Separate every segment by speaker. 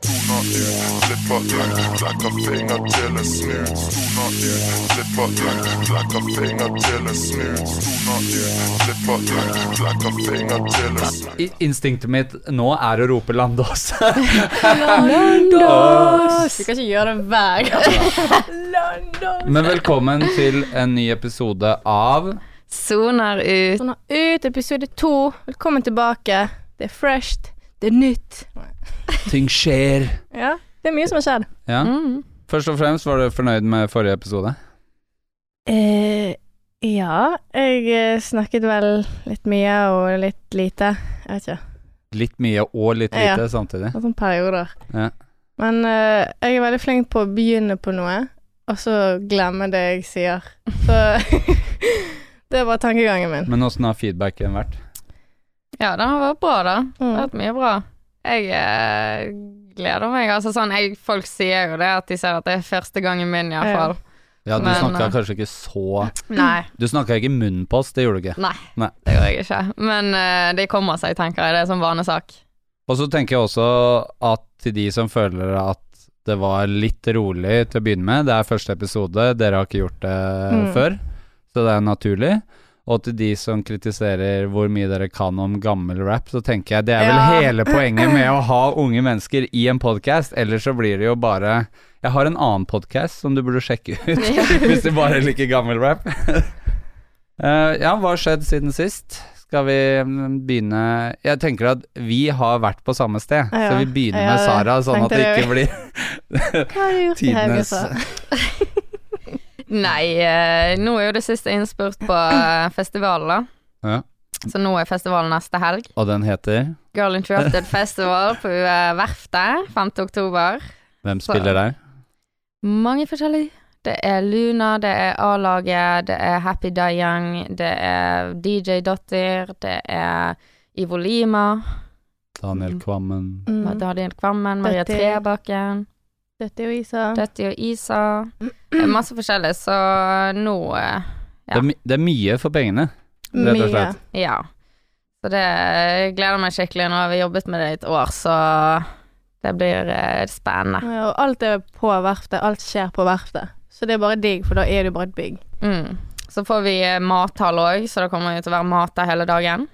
Speaker 1: Toner ut, slipper langt, blekker finger til en snus. Toner ut, slipper langt, blekker finger til en snus. Toner ut, slipper langt, blekker finger til en snus.
Speaker 2: I- Instinktet mitt nå er å rope 'Landås'.
Speaker 3: Du kan ikke gjøre det hver gang.
Speaker 2: Men velkommen til en ny episode av
Speaker 4: Soner ut.
Speaker 3: Sånn, ut episode to. Velkommen tilbake. Det er fresht. Det er nytt.
Speaker 2: Ting skjer.
Speaker 3: Ja, det er mye som har skjedd.
Speaker 2: Ja.
Speaker 4: Mm.
Speaker 2: Først og fremst, var du fornøyd med forrige episode?
Speaker 3: Eh, ja, jeg eh, snakket vel litt mye og litt lite. Jeg vet ikke.
Speaker 2: Litt mye og litt
Speaker 3: Ja.
Speaker 2: lite samtidig.
Speaker 3: Det var sånn perioder.
Speaker 2: Ja.
Speaker 3: Men eh, jeg er veldig flink på å begynne på noe, og så glemme det jeg sier. Så det var tankegangen min.
Speaker 2: Men åssen har feedbacken vært?
Speaker 4: Ja, den har vært bra, da. Det har
Speaker 3: Mm.
Speaker 4: vært mye bra. Jeg eh, gleder meg. Altså sånn, jeg, folk sier jo det, at de ser at det er første gangen min, iallfall.
Speaker 2: Ja, du
Speaker 4: Men,
Speaker 2: snakka
Speaker 4: eh,
Speaker 2: kanskje ikke så
Speaker 4: Nei,
Speaker 2: Du snakka ikke i munnen på oss, det gjorde du ikke.
Speaker 4: nei,
Speaker 2: Nei.
Speaker 4: det gjør jeg ikke. Men eh, de kommer seg, tenker jeg. Det er som vanesak.
Speaker 2: Og så tenker jeg også at til de som føler at det var litt rolig til å begynne med, det er første episode, dere har ikke gjort det
Speaker 3: Mm.
Speaker 2: før, så det er naturlig. Og til de som kritiserer hvor mye dere kan om gammel rap, så tenker jeg det er vel
Speaker 4: Ja.
Speaker 2: hele poenget med å ha unge mennesker i en podkast, ellers så blir det jo bare Jeg har en annen podkast som du burde sjekke ut, hvis du bare liker gammel rap. Eh, ja, hva har skjedd siden sist? Skal vi mm, begynne Jeg tenker at vi har vært på samme sted,
Speaker 3: Ja,
Speaker 2: så vi begynner
Speaker 3: ja,
Speaker 2: med
Speaker 3: det
Speaker 2: Sara, sånn at
Speaker 3: tenkte
Speaker 2: det
Speaker 3: jeg
Speaker 2: ikke blir
Speaker 3: Hva har du gjort i helgen,
Speaker 2: tidenes
Speaker 3: så?
Speaker 4: Nei, eh, nå er jo det siste innspurt på eh, festivalen, da.
Speaker 2: Ja.
Speaker 4: Så nå er festivalen neste helg.
Speaker 2: Og den heter
Speaker 4: Girl Interrupted Festival på eh, Verftet 5. oktober.
Speaker 2: Hvem
Speaker 4: Så-
Speaker 2: spiller der?
Speaker 4: Mange forskjellige. Det er Luna, det er A-laget, det er Happy Die Young, det er DJ Dotter, det er Ivo Lima,
Speaker 2: Daniel
Speaker 4: Mm.
Speaker 2: Kvammen
Speaker 3: Mm.
Speaker 4: Daniel Kvammen, Maria
Speaker 3: Dødti.
Speaker 4: Trebakken,
Speaker 3: Dette er jo Isa.
Speaker 4: Døtti og Isa. Det er masse forskjellig, så nå eh, Ja.
Speaker 2: det, er, my- det er mye for pengene. rett og
Speaker 3: Mye.
Speaker 2: slett.
Speaker 4: Ja. Så det jeg gleder meg skikkelig. Nå har vi jobbet med det i et år, så det blir eh, spennende.
Speaker 3: Ja, og alt er på verftet. Alt skjer på verftet. Så det er bare digg, for da er det jo bare et bygg.
Speaker 4: Mm. Så får vi eh, mathall òg, så det kommer jo til å være mat der hele dagen.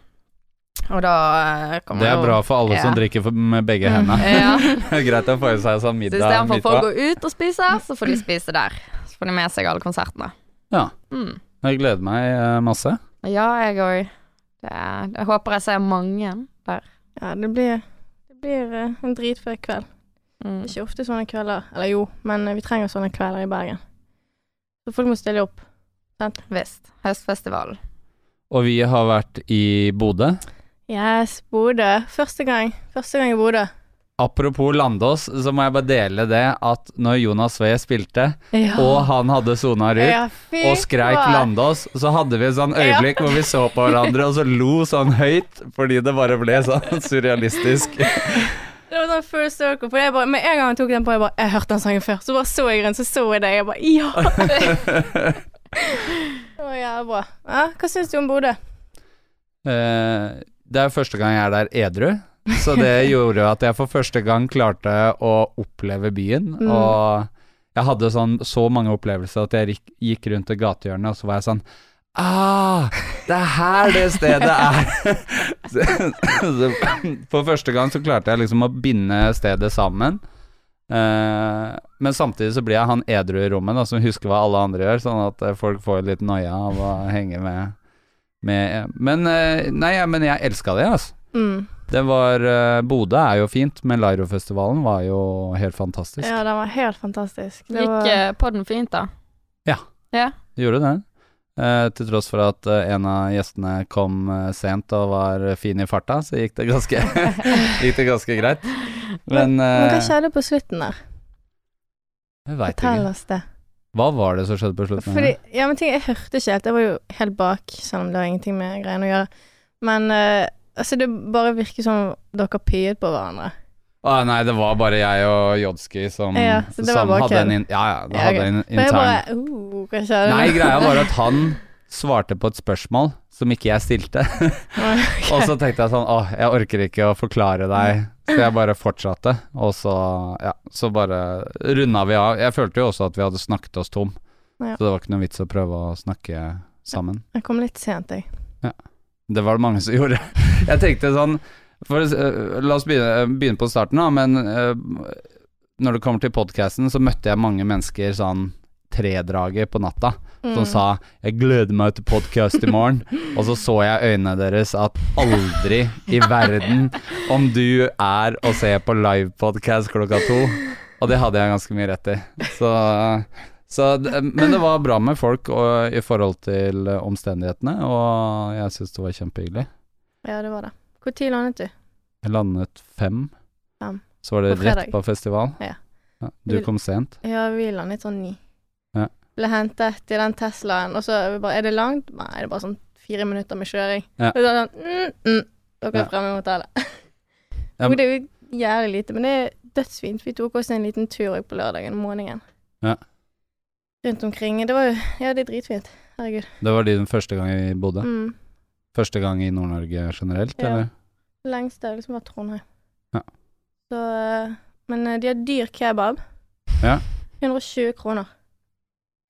Speaker 4: Og da eh, kommer
Speaker 2: Det er
Speaker 4: jo-
Speaker 2: bra for alle som
Speaker 4: Ja.
Speaker 2: drikker for, med begge hendene.
Speaker 4: Ja.
Speaker 2: Greit å få i seg sånn
Speaker 4: Så
Speaker 2: middag
Speaker 4: istedenfor
Speaker 2: midt
Speaker 4: at folk
Speaker 2: på.
Speaker 4: går ut og spiser, så får de spise der. Så får de med seg alle konsertene.
Speaker 2: Ja.
Speaker 4: Mm.
Speaker 2: Jeg gleder meg eh, masse.
Speaker 4: Ja, jeg òg. Jeg håper jeg ser mange der.
Speaker 3: Ja, det blir, det blir eh, en dritfet kveld.
Speaker 4: Mm.
Speaker 3: Det er ikke ofte sånne kvelder. Eller jo, men eh, vi trenger sånne kvelder i Bergen. Så folk må stille opp.
Speaker 4: Visst. Høstfestivalen.
Speaker 2: Og vi har vært i Bodø.
Speaker 3: Yes, Bodø. Første gang. Første gang i Bodø.
Speaker 2: Apropos Landås, så må jeg bare dele det at når Jonas Sve spilte,
Speaker 3: Ja.
Speaker 2: og han hadde sona ut
Speaker 3: Ja, fy
Speaker 2: og skreik
Speaker 3: faen.
Speaker 2: 'Landås', så hadde vi et sånn øyeblikk hvor vi så på hverandre og så lo sånn høyt fordi det bare ble sånn surrealistisk.
Speaker 3: Det var sånn first circle. For jeg bare, med en gang jeg tok den på, jeg bare Jeg hørte den sangen før. Så bare så jeg rundt, så så jeg deg, jeg bare Ja! det var jævlig bra. Ja, hva syns du om Bodø?
Speaker 2: Eh, Det er første gang jeg er der edru, så det gjorde jo at jeg for første gang klarte å oppleve byen.
Speaker 3: Mm.
Speaker 2: Og jeg hadde sånn, så mange opplevelser at jeg gikk, gikk rundt til gatehjørnet, og så var jeg sånn Ah, det er her det stedet er! Så- så for første gang så klarte jeg liksom å binde stedet sammen. Eh, men samtidig så blir jeg han edru i rommet da, som husker hva alle andre gjør, sånn at eh, folk får litt noia av å henge med. med men, eh, nei, ja, men jeg elska det, altså.
Speaker 3: Mm.
Speaker 2: Det var eh, Bodø er jo fint, men Lairofestivalen var jo helt fantastisk.
Speaker 3: Ja, den var helt fantastisk. Det
Speaker 4: Gikk
Speaker 3: var,
Speaker 4: eh, podden fint, da?
Speaker 2: Gjorde det. Eh, til tross for at eh, en av gjestene kom eh, sent og var fin i farta, så gikk det ganske, gikk det ganske greit. Men,
Speaker 3: men hva
Speaker 2: eh,
Speaker 3: skjedde på slutten der?
Speaker 2: jeg veit
Speaker 3: Fortell
Speaker 2: ikke.
Speaker 3: oss det.
Speaker 2: Hva var det som skjedde på slutten?
Speaker 3: Fordi, ja, men ting, jeg hørte ikke helt. Jeg var jo helt bak, selv om det har ingenting med greiene å gjøre. Men eh, altså, det bare virker som dere pyet på hverandre.
Speaker 2: Å, nei, det var bare jeg og Jodski som,
Speaker 3: Ja, så det var
Speaker 2: som
Speaker 3: bare
Speaker 2: hadde en
Speaker 3: kødd.
Speaker 2: in, Ja, ja, det
Speaker 3: Ja,
Speaker 2: hadde
Speaker 3: ok.
Speaker 2: en
Speaker 3: Og jeg
Speaker 2: intern
Speaker 3: bare uh, Hva skjedde?
Speaker 2: Nei, greia var at han svarte på et spørsmål som ikke jeg stilte.
Speaker 3: Ok.
Speaker 2: Og så tenkte jeg sånn Åh, jeg orker ikke å forklare deg. Så jeg bare fortsatte, og så Ja, så bare runda vi av. Jeg følte jo også at vi hadde snakket oss tom,
Speaker 3: Ja.
Speaker 2: så det var ikke noe vits å prøve å snakke sammen.
Speaker 3: Jeg kom litt sent, jeg.
Speaker 2: Det var det mange som gjorde. Jeg tenkte sånn for, å s- øh, La oss begynne, øh, begynne på starten, da, men øh, når det kommer til podkasten, så møtte jeg mange mennesker sånn tredraget på natta
Speaker 3: Mm.
Speaker 2: som sa 'jeg gleder meg til podkast i morgen', og så så jeg øynene deres at aldri i verden om du er og ser på livepodkast klokka to. Og det hadde jeg ganske mye rett i. Så, så, d- men det var bra med folk og, i forhold til eh, omstendighetene, og jeg syns det var kjempehyggelig.
Speaker 3: Mm. Ja, det var det. Når landet du?
Speaker 2: Jeg landet fem.
Speaker 3: Fem.
Speaker 2: Så var det
Speaker 3: På fredag.
Speaker 2: rett på festival.
Speaker 3: Ja.
Speaker 2: Ja, Du kom sent.
Speaker 3: Ja, vi landet sånn ni.
Speaker 2: Ja.
Speaker 3: Ble hentet i den Teslaen, og så er, vi bare, er det langt? Nei, det er bare sånn fire minutter med kjøring.
Speaker 2: Ja.
Speaker 3: Og så er det sånn, mm, mm, dere
Speaker 2: Ja.
Speaker 3: er fremme mot alle.
Speaker 2: Ja,
Speaker 3: Og det er jo jævlig lite, men det er dødsfint. Vi tok oss en liten tur også på lørdagen om morgenen.
Speaker 2: Ja.
Speaker 3: Rundt omkring. Det var jo, ja, det er dritfint. Herregud.
Speaker 2: Det var din første gang i Bodø.
Speaker 3: Mm.
Speaker 2: Første gang i Nord-Norge generelt,
Speaker 3: Ja.
Speaker 2: eller?
Speaker 3: Lengst det liksom var Trondheim.
Speaker 2: Ja.
Speaker 3: Så, eh, men eh, de har dyr kebab.
Speaker 2: Ja.
Speaker 3: 120 kroner.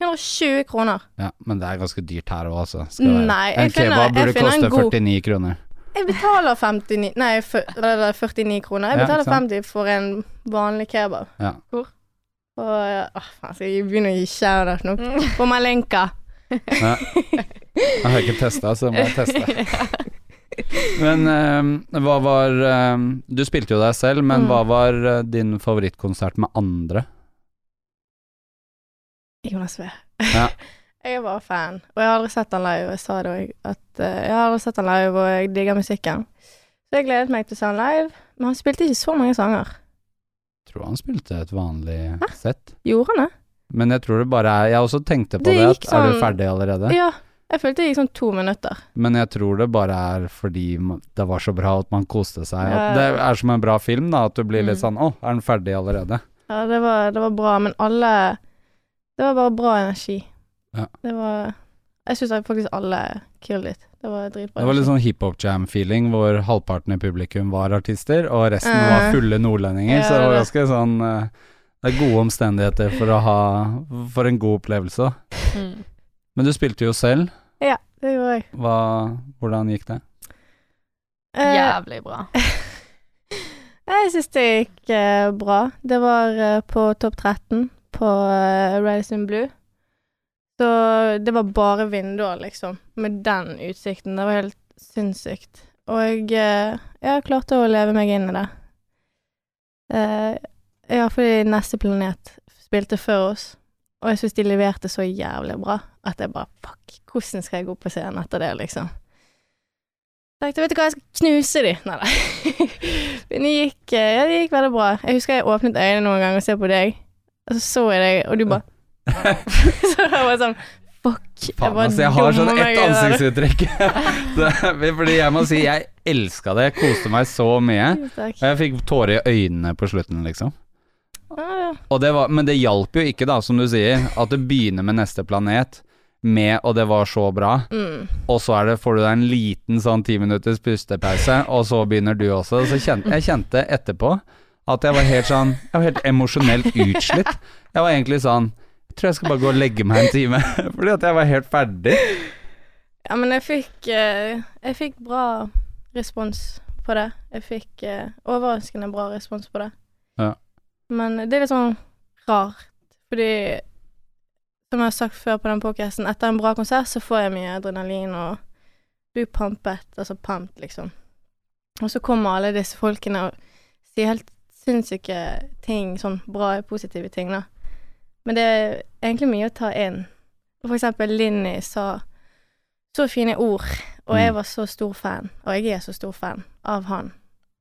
Speaker 3: 120 kroner.
Speaker 2: Ja, men det er ganske dyrt her òg, altså. skal det være.
Speaker 3: Nei,
Speaker 2: En
Speaker 3: jeg finner,
Speaker 2: kebab
Speaker 3: jeg
Speaker 2: burde
Speaker 3: finner en
Speaker 2: koste
Speaker 3: god
Speaker 2: 49 kroner.
Speaker 3: Jeg betaler 59 Nei, fyr- eller 49 kroner. Jeg
Speaker 2: Ja,
Speaker 3: betaler
Speaker 2: ikke sant?
Speaker 3: 50 for en vanlig kebab.
Speaker 2: Ja.
Speaker 3: Og eh, Åh, faen, skal jeg begynne å gi shout-out nå?
Speaker 4: Mm.
Speaker 3: På Malenka.
Speaker 2: Ja. Jeg har ikke testa, så jeg må teste. Men eh, hva var eh, Du spilte jo deg selv, men
Speaker 3: Mm.
Speaker 2: hva var eh, din favorittkonsert med andre?
Speaker 3: Jonas V.
Speaker 2: Ja.
Speaker 3: jeg er bare fan, og jeg har aldri sett han live. og Jeg sa det òg, at eh, jeg har aldri sett han live, og jeg digger musikken. Så jeg gledet meg til å se han live, men han spilte ikke så mange sanger.
Speaker 2: Tror han spilte et vanlig sett.
Speaker 3: Gjorde han det?
Speaker 2: Men jeg tror det bare er Jeg også tenkte på
Speaker 3: Det
Speaker 2: det.
Speaker 3: gikk
Speaker 2: at, Er du
Speaker 3: sånn-
Speaker 2: ferdig allerede?
Speaker 3: Ja. Jeg følte det gikk sånn to minutter.
Speaker 2: Men jeg tror det bare er fordi ma- det var så bra at man koste seg. At det
Speaker 3: Ja.
Speaker 2: er som en bra film, da, at du blir litt
Speaker 4: Mm.
Speaker 2: sånn Å, er den ferdig allerede?
Speaker 3: Ja, det var, det var bra, men alle Det var bare bra energi.
Speaker 2: Ja.
Speaker 3: Det var Jeg syns faktisk alle killed it. Det var dritbra.
Speaker 2: Det var litt
Speaker 3: energi.
Speaker 2: sånn hiphop jam-feeling, hvor halvparten i publikum var artister, og resten
Speaker 3: Eh.
Speaker 2: var fulle nordlendinger,
Speaker 3: Ja,
Speaker 2: så det
Speaker 3: det
Speaker 2: var
Speaker 3: var-
Speaker 2: ganske sånn eh, Det er gode omstendigheter for å ha For en god opplevelse. da.
Speaker 4: Mm.
Speaker 2: Men du spilte jo selv.
Speaker 3: Det gjorde jeg.
Speaker 2: Hva, hvordan gikk det?
Speaker 3: Eh,
Speaker 4: Jævlig bra.
Speaker 3: Jeg syns det gikk eh, bra. Det var eh, på topp 13 på eh, Radisson Blue. Så det var bare vinduer, liksom, med den utsikten. Det var helt sinnssykt. Og eh, jeg klarte å leve meg inn i det. Eh, ja, fordi Neste Planet spilte før oss, og jeg syns de leverte så jævlig bra at jeg bare Fuck, hvordan skal jeg gå på scenen etter det, liksom? Jeg tenkte, vet du hva, jeg skal knuse de. Nei da. Men det gikk, eh, ja, det gikk veldig bra. Jeg husker jeg åpnet øynene noen ganger og så på deg, og så så jeg deg, og du bare Så jeg var sånn Fuck. Jeg
Speaker 2: Faen,
Speaker 3: bare
Speaker 2: altså, jeg har sånn
Speaker 3: dummer meg
Speaker 2: ett
Speaker 3: i det der.
Speaker 2: ansiktsuttrykk. Det- Fordi jeg må si jeg elska det. Jeg koste meg så mye.
Speaker 3: Tusen Takk.
Speaker 2: Og jeg fikk tårer i øynene på slutten, liksom.
Speaker 3: Ja, ja.
Speaker 2: Og det var, men det hjalp jo ikke, da, som du sier, at det begynner med neste planet, med 'og det var så bra',
Speaker 3: Mm.
Speaker 2: og så er det, får du deg en liten sånn ti minutters pustepause, og så begynner du også. Så kjente, jeg kjente etterpå at jeg var helt sånn Jeg var helt emosjonelt utslitt. Jeg var egentlig sånn Jeg tror jeg skal bare gå og legge meg en time, fordi at jeg var helt ferdig.
Speaker 3: ja, men jeg fikk eh, Jeg fikk bra respons på det. Jeg fikk eh, overraskende bra respons på det.
Speaker 2: Ja.
Speaker 3: Men det er litt sånn rart, fordi som jeg har sagt før på den podcasten, etter en bra konsert så får jeg mye adrenalin og blir pampet, altså pumped, liksom. Og så kommer alle disse folkene og sier helt sinnssyke ting, sånn bra, positive ting, da. Men det er egentlig mye å ta inn. Og For eksempel Linni sa så fine ord, og jeg
Speaker 2: Mm.
Speaker 3: var så stor fan, og jeg er så stor fan av han.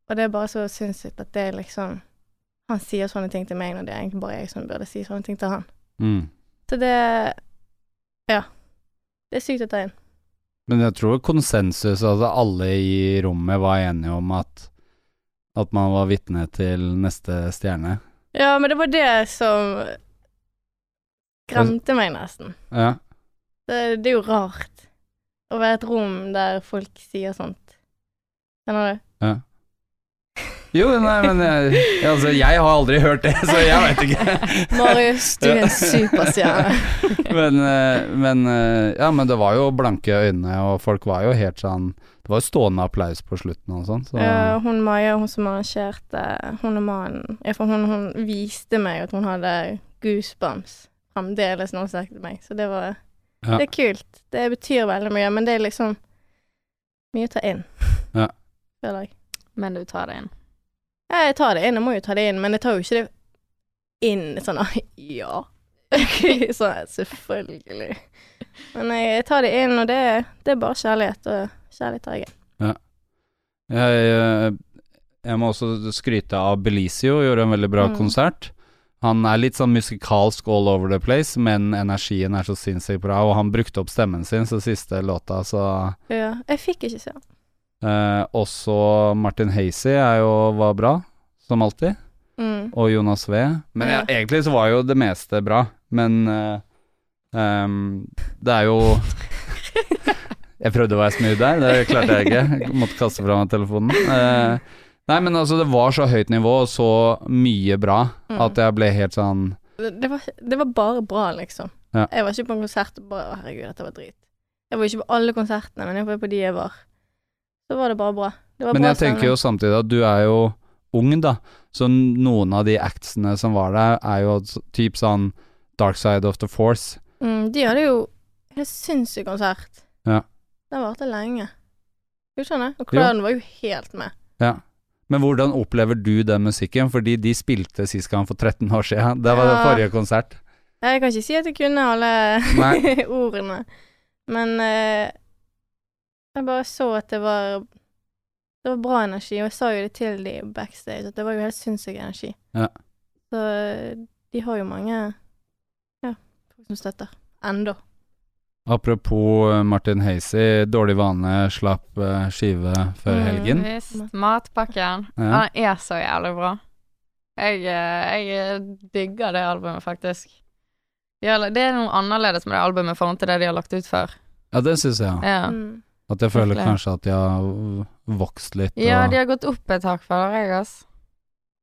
Speaker 3: Og det er bare så sinnssykt at det er liksom Han sier sånne ting til meg når det er egentlig bare jeg som burde si sånne ting til han.
Speaker 2: Mm.
Speaker 3: Så det Ja. Det er sykt å ta inn.
Speaker 2: Men jeg tror konsensus, altså alle i rommet var enige om at at man var vitne til neste stjerne.
Speaker 3: Ja, men det var det som skremte meg nesten.
Speaker 2: Ja.
Speaker 3: Det, det er jo rart. å være et rom der folk sier sånt. Skjønner du?
Speaker 2: Jo, nei, men jeg, altså, jeg har aldri hørt det, så jeg veit ikke.
Speaker 3: Marius, du er en superstjerne.
Speaker 2: Men, eh, men eh, Ja, men det var jo blanke øyne, og folk var jo helt sånn Det var jo stående applaus på slutten og sånn, så
Speaker 3: Eh, hun Maja, hun som arrangerte, hun og mannen ja, for hun, hun viste meg at hun hadde goosebumps fremdeles når hun snakket til meg, så det var
Speaker 2: Ja.
Speaker 3: Det er kult. Det betyr veldig mye, men det er liksom mye å ta inn,
Speaker 2: Ja.
Speaker 3: føler jeg.
Speaker 4: Men du tar det inn.
Speaker 3: Ja, jeg tar det inn, jeg må jo ta det inn, men jeg tar jo ikke det inn sånn ah, Ja. sånn selvfølgelig. Men jeg, jeg tar det inn, og det, det er bare kjærlighet, og kjærlighet tar jeg inn.
Speaker 2: Jeg, eh, jeg må også skryte av Belizio, gjorde en veldig bra
Speaker 3: Mm.
Speaker 2: konsert. Han er litt sånn musikalsk all over the place, men energien er så sinnssykt bra, og han brukte opp stemmen sin så siste låta, så
Speaker 3: Ja, jeg fikk ikke se den.
Speaker 2: eh, Også Martin Hazy er jo var bra, som alltid,
Speaker 3: Mm.
Speaker 2: og Jonas V. Men ja, egentlig så var jo det meste bra, men eh, ehm, det er jo Jeg prøvde å være smooth der, det klarte jeg ikke. Jeg måtte kaste fra meg telefonen. Eh, nei, men altså, det var så høyt nivå og så mye bra
Speaker 3: Mm.
Speaker 2: at jeg ble helt sånn
Speaker 3: Det, det, var, det var bare bra, liksom.
Speaker 2: Ja.
Speaker 3: Jeg var ikke på en konsert og bare Å, herregud, dette var drit. Jeg var ikke på alle konsertene, men jeg var på de jeg var. Så var det bare bra. Det var
Speaker 2: Men
Speaker 3: bra
Speaker 2: jeg tenker jo samtidig at du er jo ung, da. Så noen av de actsene som var der, er jo s- typ sånn Dark Side of the Force.
Speaker 3: stemning. mm, De hadde jo helt sinnssyk konsert.
Speaker 2: Ja.
Speaker 3: Den varte lenge. Du skjønner? Og
Speaker 2: Jo.
Speaker 3: Crowden var jo helt med.
Speaker 2: Men hvordan opplever du den musikken? Fordi de spilte sist gang for 13 år siden. Det var den
Speaker 3: Ja.
Speaker 2: forrige konsert.
Speaker 3: Jeg kan ikke si at jeg kunne alle
Speaker 2: Nei.
Speaker 3: ordene, men eh, jeg bare så at det var Det var bra energi, og jeg sa jo det til de backstage, at det var jo helt sinnssyk energi.
Speaker 2: Ja.
Speaker 3: Så eh, de har jo mange ja, folk som støtter. Enda.
Speaker 2: Apropos eh, Martin Hazy, dårlig vane, slapp eh, skive før
Speaker 3: Mm.
Speaker 2: helgen.
Speaker 4: Visst. Matpakken.
Speaker 2: Ja.
Speaker 4: Den er så jævlig bra. Jeg, eh, jeg digger det albumet, faktisk. De har- Det er noe annerledes med det albumet i forhold til det de har lagt ut før.
Speaker 2: Ja, det syns jeg. ja.
Speaker 4: Ja.
Speaker 3: Mm.
Speaker 2: At jeg føler
Speaker 4: Virkelig.
Speaker 2: kanskje at jeg har v- vokst litt.
Speaker 4: ja,
Speaker 2: og-
Speaker 4: de har gått opp et tak for deg, ass.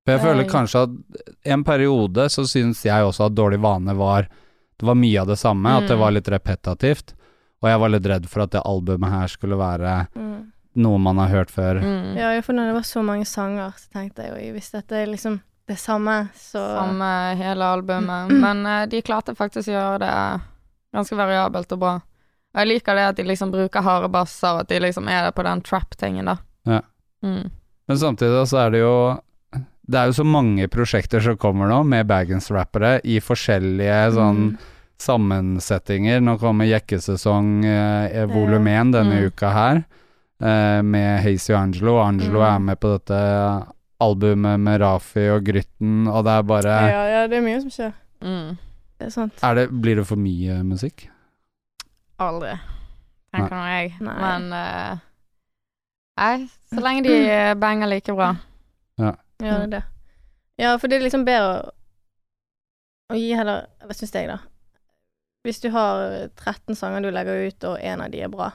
Speaker 2: For jeg føler
Speaker 4: Nei.
Speaker 2: kanskje at en periode så syns jeg også at dårlig vane var Det var mye av det samme, at det
Speaker 4: Mm.
Speaker 2: var litt repetativt. Og jeg var litt redd for at det albumet her skulle være
Speaker 3: Mm.
Speaker 2: noe man har hørt før.
Speaker 4: Mm.
Speaker 3: Ja, for når det var så mange sanger, så tenkte jeg jo hvis dette er liksom det samme, så
Speaker 4: Samme hele albumet. Men eh, de klarte faktisk å gjøre det eh, ganske variabelt og bra. Og jeg liker det at de liksom bruker harde basser, og at de liksom er der på den trap-tingen, da.
Speaker 2: Ja.
Speaker 4: Mm.
Speaker 2: Men samtidig da så er det jo Det er jo så mange prosjekter som kommer nå, med Baggins-rappere i forskjellige sånn
Speaker 4: Mm.
Speaker 2: sammensettinger. Nå kommer jekkesesong eh, volum 1 denne
Speaker 4: Mm.
Speaker 2: uka her, eh, med Hazy og Angelo. Og Angelo
Speaker 4: Mm.
Speaker 2: er med på dette albumet med Rafi og Grytten, og det er bare
Speaker 3: ja, ja, det er mye som skjer.
Speaker 4: Mm.
Speaker 3: Det er sant.
Speaker 2: er det, Blir det for mye musikk?
Speaker 4: Aldri, tenker nå jeg.
Speaker 3: Nei.
Speaker 4: Men eh, Nei, så lenge de eh, banger like bra.
Speaker 3: Ja,
Speaker 2: Mm.
Speaker 3: det er det. Ja, for det er liksom bedre å, å gi heller Eller syns jeg, da. Hvis du har 13 sanger du legger ut, og én av de er bra,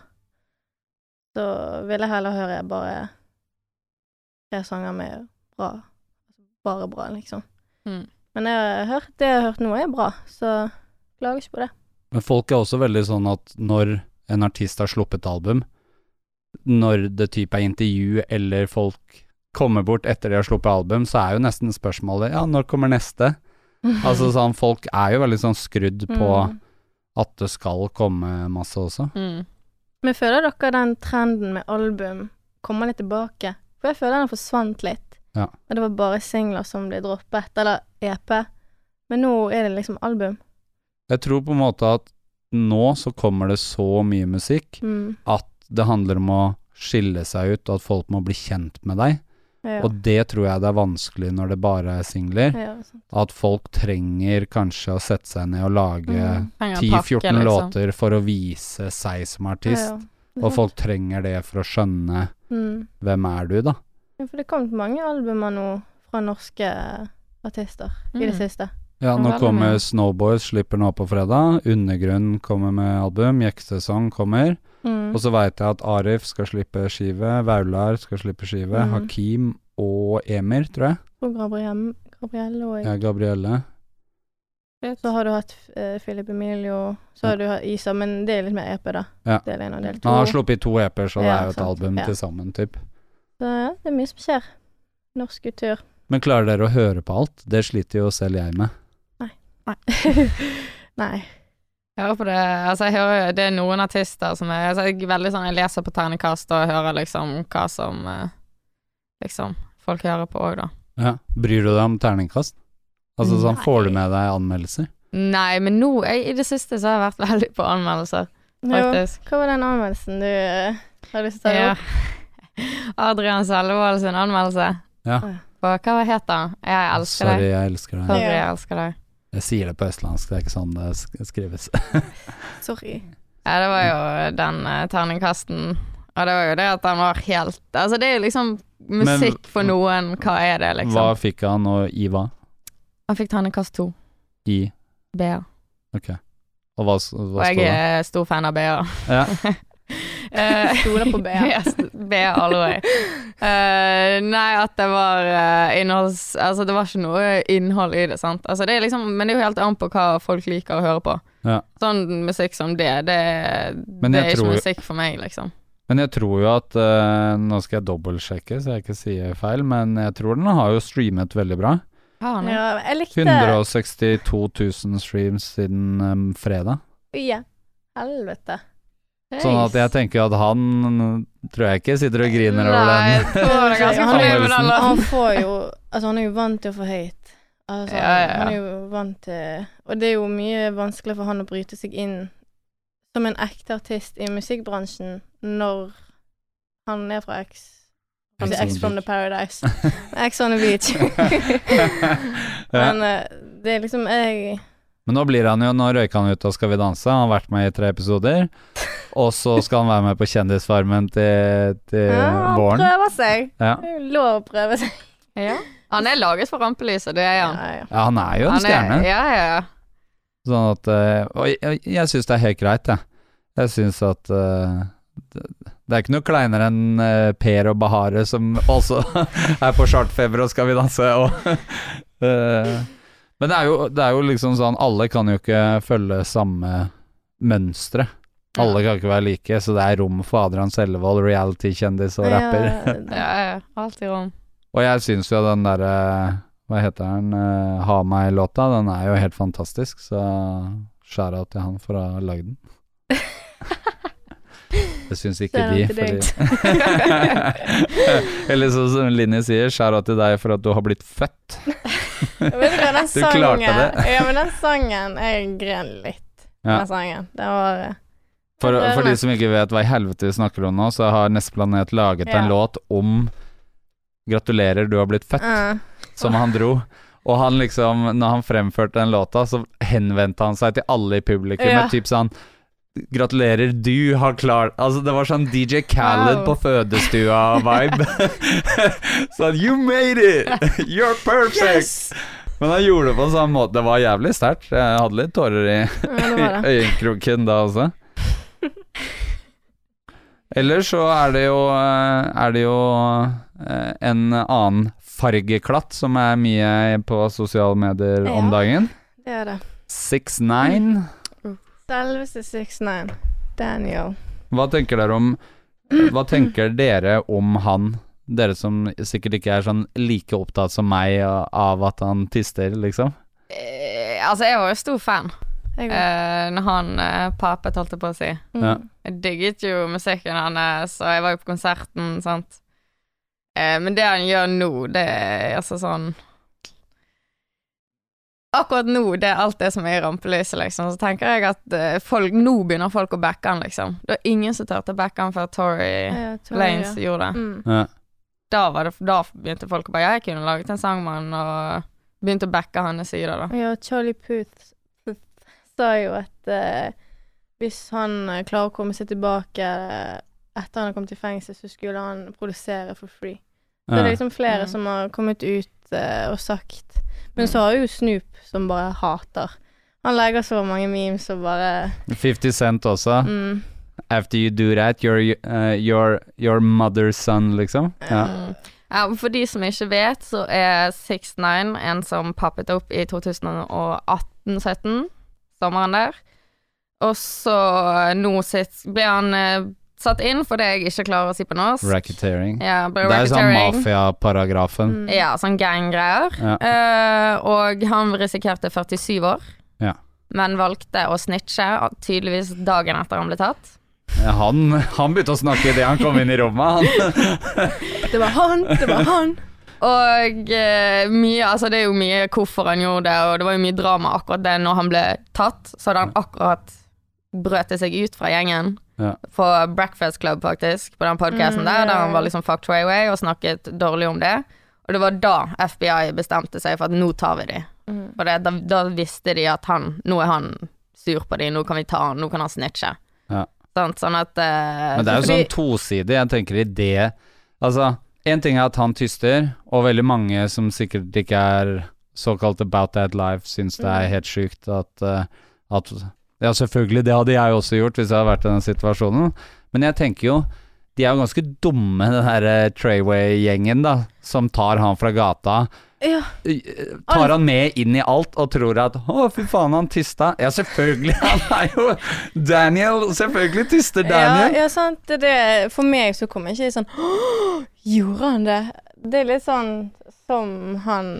Speaker 3: så vil jeg heller høre bare tre sanger med bra Bare bra, liksom.
Speaker 4: Mm.
Speaker 3: Men jeg har hørt, det jeg har hørt nå, er bra, så klager ikke på det.
Speaker 2: Men folk er også veldig sånn at når en artist har sluppet album, når det type er intervju eller folk kommer bort etter de har sluppet album, så er jo nesten spørsmålet ja, når kommer neste? Altså sånn, folk er jo veldig sånn skrudd på
Speaker 3: Mm.
Speaker 2: at det skal komme masse også.
Speaker 4: Mm.
Speaker 3: Men føler dere den trenden med album kommer litt tilbake? For jeg føler den forsvant litt.
Speaker 2: Ja.
Speaker 3: Og det var bare singler som ble droppet, eller EP. Men nå er det liksom album.
Speaker 2: Jeg tror på en måte at nå så kommer det så mye musikk,
Speaker 3: Mm.
Speaker 2: det handler om å skille seg ut, og at folk må bli kjent med deg,
Speaker 3: Ja.
Speaker 2: og det tror jeg det er vanskelig når det bare er singler.
Speaker 3: ja, sånn. sant.
Speaker 2: at folk trenger kanskje å sette seg ned og lage
Speaker 3: Mm.
Speaker 4: Trenger en
Speaker 2: 10-14
Speaker 4: pakke, liksom.
Speaker 2: låter for å vise seg som artist,
Speaker 3: Ja, ja. Det er
Speaker 2: og
Speaker 3: sant.
Speaker 2: folk trenger det for å skjønne
Speaker 3: Mm.
Speaker 2: hvem er du, da.
Speaker 3: Ja, for det kom mange albumer nå fra norske eh, artister i det
Speaker 4: Mm.
Speaker 3: siste.
Speaker 2: Ja,
Speaker 4: Ja,
Speaker 2: nå
Speaker 4: veldig
Speaker 2: kommer
Speaker 4: mye.
Speaker 2: Snowboys, slipper nå på fredag. Undergrunn kommer med album. Jekkesesong kommer.
Speaker 3: Mm.
Speaker 2: Og så veit jeg at Arif skal slippe skive, Vaular skal slippe skive,
Speaker 4: Mhm.
Speaker 2: Hakim og Emir, tror jeg.
Speaker 3: Og Gabriel, Gabriel og
Speaker 2: Ja, Gabrielle.
Speaker 3: Så har du hatt eh, Philip Emilio, så har du hatt Isa, men det er litt mer EP, da.
Speaker 2: Ja.
Speaker 3: Del én og del to.
Speaker 2: Han har sluppet to EP-er, så det
Speaker 3: Ja,
Speaker 2: er jo et
Speaker 3: sant.
Speaker 2: album
Speaker 3: Ja.
Speaker 2: til sammen, typ.
Speaker 3: Så ja, det er mye som skjer. Norsk kultur.
Speaker 2: Men klarer dere å høre på alt? Det sliter jo selv jeg med.
Speaker 3: Nei.
Speaker 4: Jeg hører på det. Altså, jeg hører, det er noen artister som er, altså, jeg, er veldig sånn, jeg leser på ternekast og hører liksom hva som eh, liksom, folk hører på òg, da.
Speaker 2: Ja. Bryr du deg om terningkast? Altså sånn, får du
Speaker 4: Nei.
Speaker 2: med deg anmeldelser?
Speaker 4: Nei, men nå, jeg, i det siste, så har jeg vært veldig på anmeldelser,
Speaker 3: Jo,
Speaker 4: faktisk.
Speaker 3: hva var den anmeldelsen du eh, har lyst til å ta
Speaker 4: Ja.
Speaker 3: opp?
Speaker 4: Adrian Selvold sin anmeldelse.
Speaker 2: Ja.
Speaker 4: På, hva het den? Jeg elsker
Speaker 2: Sorry,
Speaker 4: deg.
Speaker 2: jeg elsker deg.
Speaker 4: Sorry,
Speaker 3: Ja.
Speaker 4: jeg elsker deg.
Speaker 2: Jeg sier det på østlandsk, det er ikke sånn det sk- skrives.
Speaker 3: Sorry.
Speaker 4: Ja, det var jo den eh, terningkasten. Og det var jo det at han var helt Altså, det er jo liksom musikk for noen. Hva er det,
Speaker 2: Hva
Speaker 4: liksom?
Speaker 2: fikk han, og i hva?
Speaker 4: Han fikk terningkast to.
Speaker 2: I
Speaker 4: BA.
Speaker 2: Ok. Og hva, s-
Speaker 4: Og
Speaker 2: hva
Speaker 4: jeg
Speaker 2: står det?
Speaker 4: er stor fan av BA.
Speaker 2: Ja.
Speaker 4: Eh,
Speaker 3: Stoler på BA.
Speaker 4: yes, BA all the way. Eh, nei, at det var eh, innholds... Altså, det var ikke noe innhold i det, sant. Altså, det er liksom, men det er jo helt an på hva folk liker å høre på.
Speaker 2: Ja.
Speaker 4: Sånn musikk som det, det,
Speaker 2: Men jeg
Speaker 4: det er ikke
Speaker 2: tror-
Speaker 4: musikk for meg, liksom.
Speaker 2: Men jeg tror jo at eh, Nå skal jeg dobbeltsjekke, så jeg ikke sier feil, men jeg tror den har jo streamet veldig bra.
Speaker 4: Ja, nei.
Speaker 3: Ja, jeg likte
Speaker 2: 162 000 streams siden eh, fredag.
Speaker 3: Ja. Helvete.
Speaker 2: Sånn at jeg tenker at han tror jeg ikke sitter og griner over
Speaker 4: Nei,
Speaker 2: den.
Speaker 4: jeg tror det er ganske
Speaker 3: Han-
Speaker 4: fornøyd med den
Speaker 3: Han
Speaker 4: låten.
Speaker 3: får jo Altså, han er jo vant til å få høyt. Altså,
Speaker 4: Ja, ja, ja.
Speaker 3: Han er jo vant til Og det er jo mye vanskelig for han å bryte seg inn som en ekte artist i musikkbransjen når han er fra X.
Speaker 2: Ex
Speaker 3: Altså,
Speaker 2: on
Speaker 3: X
Speaker 2: the
Speaker 3: from the Paradise. X on the beach.
Speaker 2: ja.
Speaker 3: Men eh, det er liksom jeg
Speaker 2: Men nå blir han jo Nå røyker han ut av Skal vi danse, han har vært med i tre episoder. Og så skal han være med på Kjendisfarmen til, til
Speaker 3: ja, Han
Speaker 2: Eh, våren.
Speaker 3: prøver seg.
Speaker 2: Ja.
Speaker 3: Det er jo lov å prøve seg.
Speaker 4: Ja. Han er laget for rampelyset, det er han.
Speaker 3: Ja, ja.
Speaker 2: ja, han er jo en
Speaker 4: Han er,
Speaker 2: stjerne.
Speaker 4: ja, ja, ja.
Speaker 2: Sånn at eh, Og jeg, jeg syns det er helt greit, jeg. Jeg syns at eh, det, det er ikke noe kleinere enn eh, Per og Bahare, som også er på chartfeber og skal vi danse og eh, Men det er, jo, det er jo liksom sånn Alle kan jo ikke følge samme mønstre. Alle kan ikke være like, så det er rom for Adrian Sellevold, reality-kjendis
Speaker 3: eh,
Speaker 2: og rapper.
Speaker 4: ja, ja, ja. Alltid rom.
Speaker 2: Og jeg syns jo den derre Hva heter den? eh, Ha meg-låta, den er jo helt fantastisk, så skjæra til han for å ha lagd den. Det syns ikke
Speaker 3: Shout out
Speaker 2: de,
Speaker 3: til deg.
Speaker 2: fordi Eller sånn som Linni sier, skjæra til deg for at du har blitt født.
Speaker 3: Vet du hva, den
Speaker 2: Du klarte
Speaker 3: sangen
Speaker 2: det.
Speaker 3: Ja, men den sangen Jeg gren litt,
Speaker 2: Ja.
Speaker 3: den sangen. Den var eh,
Speaker 2: For,
Speaker 3: Jeg prøver
Speaker 2: for de
Speaker 3: meg.
Speaker 2: som ikke vet hva i helvete vi snakker om nå, så har Neste Planet laget
Speaker 3: Ja.
Speaker 2: en låt om 'Gratulerer, du har blitt født'.
Speaker 3: eh,
Speaker 2: som han dro. Og han liksom, når han fremførte den låta, så henvendte han seg til alle i publikum
Speaker 3: Ja.
Speaker 2: med typ sånn Gratulerer, du har klart Altså, det var sånn DJ Khaled
Speaker 4: Wow.
Speaker 2: på fødestua-vibe. sånn You made it! You're perfect! Men han gjorde det på en sånn måte. Det var jævlig sterkt. Jeg hadde litt tårer i
Speaker 3: ja, det var det.
Speaker 2: i øyekroken da også. Ellers så er det jo eh, Er det jo eh, en annen fargeklatt som er mye på sosiale medier om
Speaker 3: Ja.
Speaker 2: dagen.
Speaker 3: det, er det.
Speaker 2: 6ix9ine.
Speaker 3: Selveste 69. Daniel.
Speaker 2: Hva tenker dere om Hva tenker dere om han? Dere som sikkert ikke er sånn like opptatt som meg av at han tister, liksom.
Speaker 4: Eh, altså, jeg var jo stor fan
Speaker 3: Jeg,
Speaker 4: eh, når han eh, papet, holdt jeg på å si.
Speaker 3: mm.
Speaker 2: ja.
Speaker 4: Jeg digget jo musikken hans, og jeg var jo på konserten, sant. Eh, men det han gjør nå, det er altså sånn Akkurat nå, det er alt det som er i rampelyset, liksom. Så tenker jeg at eh, folk, nå begynner folk å backe han, liksom. Det var ingen som turte å backe han før Tory
Speaker 3: jeg tror
Speaker 4: Lanes
Speaker 3: det.
Speaker 4: gjorde det.
Speaker 3: Mm.
Speaker 2: Ja.
Speaker 4: Da, var det. da begynte folk å bare Ja, jeg kunne laget en sang med han, og begynte å backe hans side, da.
Speaker 3: Ja, Charlie Puth Puth sa jo at eh, hvis han eh, klarer å komme seg tilbake eh, etter han har kommet i fengsel, så skulle han produsere for free. Så det er
Speaker 2: Ja.
Speaker 3: liksom flere
Speaker 4: Mm.
Speaker 3: som har kommet ut eh, og sagt Men
Speaker 4: Mm.
Speaker 3: så har jo Snoop, som bare hater. Han legger så mange memes og bare
Speaker 2: 50 Cent også.
Speaker 3: mm,
Speaker 2: After you do that, you're uh, your, your mother's son, liksom. Ja.
Speaker 4: Mm. Ja, og for de som ikke vet, så er 69 en som poppet opp i 2018-17, sommeren der. Og så nå sitt, ble han eh, satt inn for det jeg ikke klarer å si på norsk.
Speaker 2: Racketeering.
Speaker 4: Ja, ble
Speaker 2: Det er jo sånn
Speaker 4: racketeering.
Speaker 2: mafiaparagrafen.
Speaker 3: Mm.
Speaker 4: Ja, sånn ganggreier.
Speaker 2: Ja.
Speaker 4: Eh, og han risikerte 47 år,
Speaker 2: Ja.
Speaker 4: men valgte å snitche, tydeligvis dagen etter han ble tatt.
Speaker 2: Han, han begynte å snakke idet han kom inn i rommet, han.
Speaker 3: Det var han, det var han.
Speaker 4: Og eh, mye, altså det er jo mye hvorfor han gjorde det, og det var jo mye drama akkurat det når han ble tatt. Så hadde han akkurat brøtet seg ut fra gjengen
Speaker 2: Ja.
Speaker 4: på Breakfast Club, faktisk, på den podcasten
Speaker 3: Mm,
Speaker 4: der,
Speaker 3: ja,
Speaker 4: der
Speaker 3: ja,
Speaker 4: han var
Speaker 3: ja.
Speaker 4: liksom fucked way way og snakket dårlig om det. Og det var da FBI bestemte seg for at nå tar vi de.
Speaker 3: Mm.
Speaker 4: For det, da, da visste de at han, nå er han sur på de, nå kan vi ta han, nå kan han snitche.
Speaker 2: Ja.
Speaker 4: Sant? Sånn at eh,
Speaker 2: Men det er jo
Speaker 4: fordi-
Speaker 2: sånn tosidig. Jeg tenker i det Altså, én ting er at han tyster, og veldig mange som sikkert ikke er såkalt about that life, syns det
Speaker 3: Mm.
Speaker 2: er helt sjukt at, eh, at Ja, selvfølgelig, det hadde jeg også gjort hvis jeg hadde vært i den situasjonen. Men jeg tenker jo de er jo ganske dumme, den her Trayway-gjengen, da, som tar han fra gata.
Speaker 3: Ja.
Speaker 2: Eh, Tar han med inn i alt og tror at Å, fy faen, han tista. Ja, selvfølgelig. Han er jo Daniel. Selvfølgelig tister
Speaker 3: Ja,
Speaker 2: Daniel.
Speaker 3: ja, sant. Det, det, for meg så kommer ikke det sånn «Åh, Gjorde han det? Det er litt sånn som han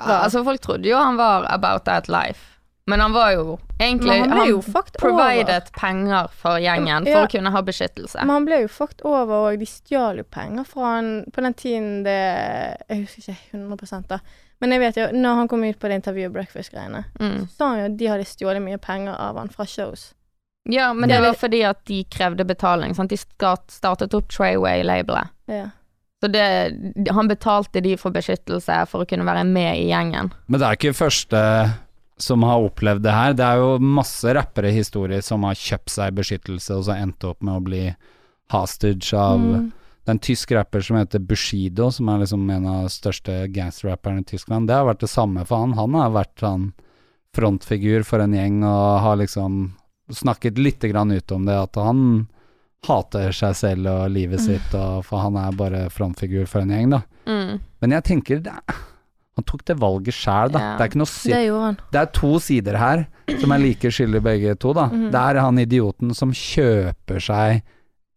Speaker 4: Ja, altså Folk trodde jo han var about that life, men han var jo egentlig
Speaker 3: Men han ble jo fucked over.
Speaker 4: provided penger for gjengen
Speaker 3: Ja.
Speaker 4: for å kunne ha beskyttelse.
Speaker 3: Men han ble jo fucked over, og de stjal jo penger fra han på den tiden det Jeg husker ikke 100 da. Men jeg vet jo, når han kom ut på det intervjuet Breakfast-greiene,
Speaker 4: Mm.
Speaker 3: så sa han jo at de hadde stjålet mye penger av han fra shows.
Speaker 4: Ja, men
Speaker 3: Det
Speaker 4: det
Speaker 3: er
Speaker 4: var
Speaker 3: det-
Speaker 4: fordi at de krevde betaling. Sant? De skat- startet opp Trayway-labelet.
Speaker 3: Ja.
Speaker 4: Så det, han betalte de for beskyttelse for å kunne være med i gjengen.
Speaker 2: Men det er ikke første som har opplevd det her. Det er jo masse rappere i historie som har kjøpt seg beskyttelse, og så endt opp med å bli hostage av
Speaker 3: Mm.
Speaker 2: Det er en tysk rapper som heter Bushido, som er liksom en av de største gangsterrapperne i Tyskland. Det har vært det samme for han. Han har vært sånn frontfigur for en gjeng og har liksom snakket lite grann ut om det, at han hater seg selv og livet sitt, og for han er bare frontfigur for en gjeng, da.
Speaker 4: Mm.
Speaker 2: Men jeg tenker det er, Han tok det valget sjæl, da.
Speaker 4: Ja.
Speaker 2: Det er ikke noe synd
Speaker 3: Det gjorde han.
Speaker 2: det er to sider her som er like skyldige begge to, da.
Speaker 3: Mhm.
Speaker 2: Det er han idioten som kjøper seg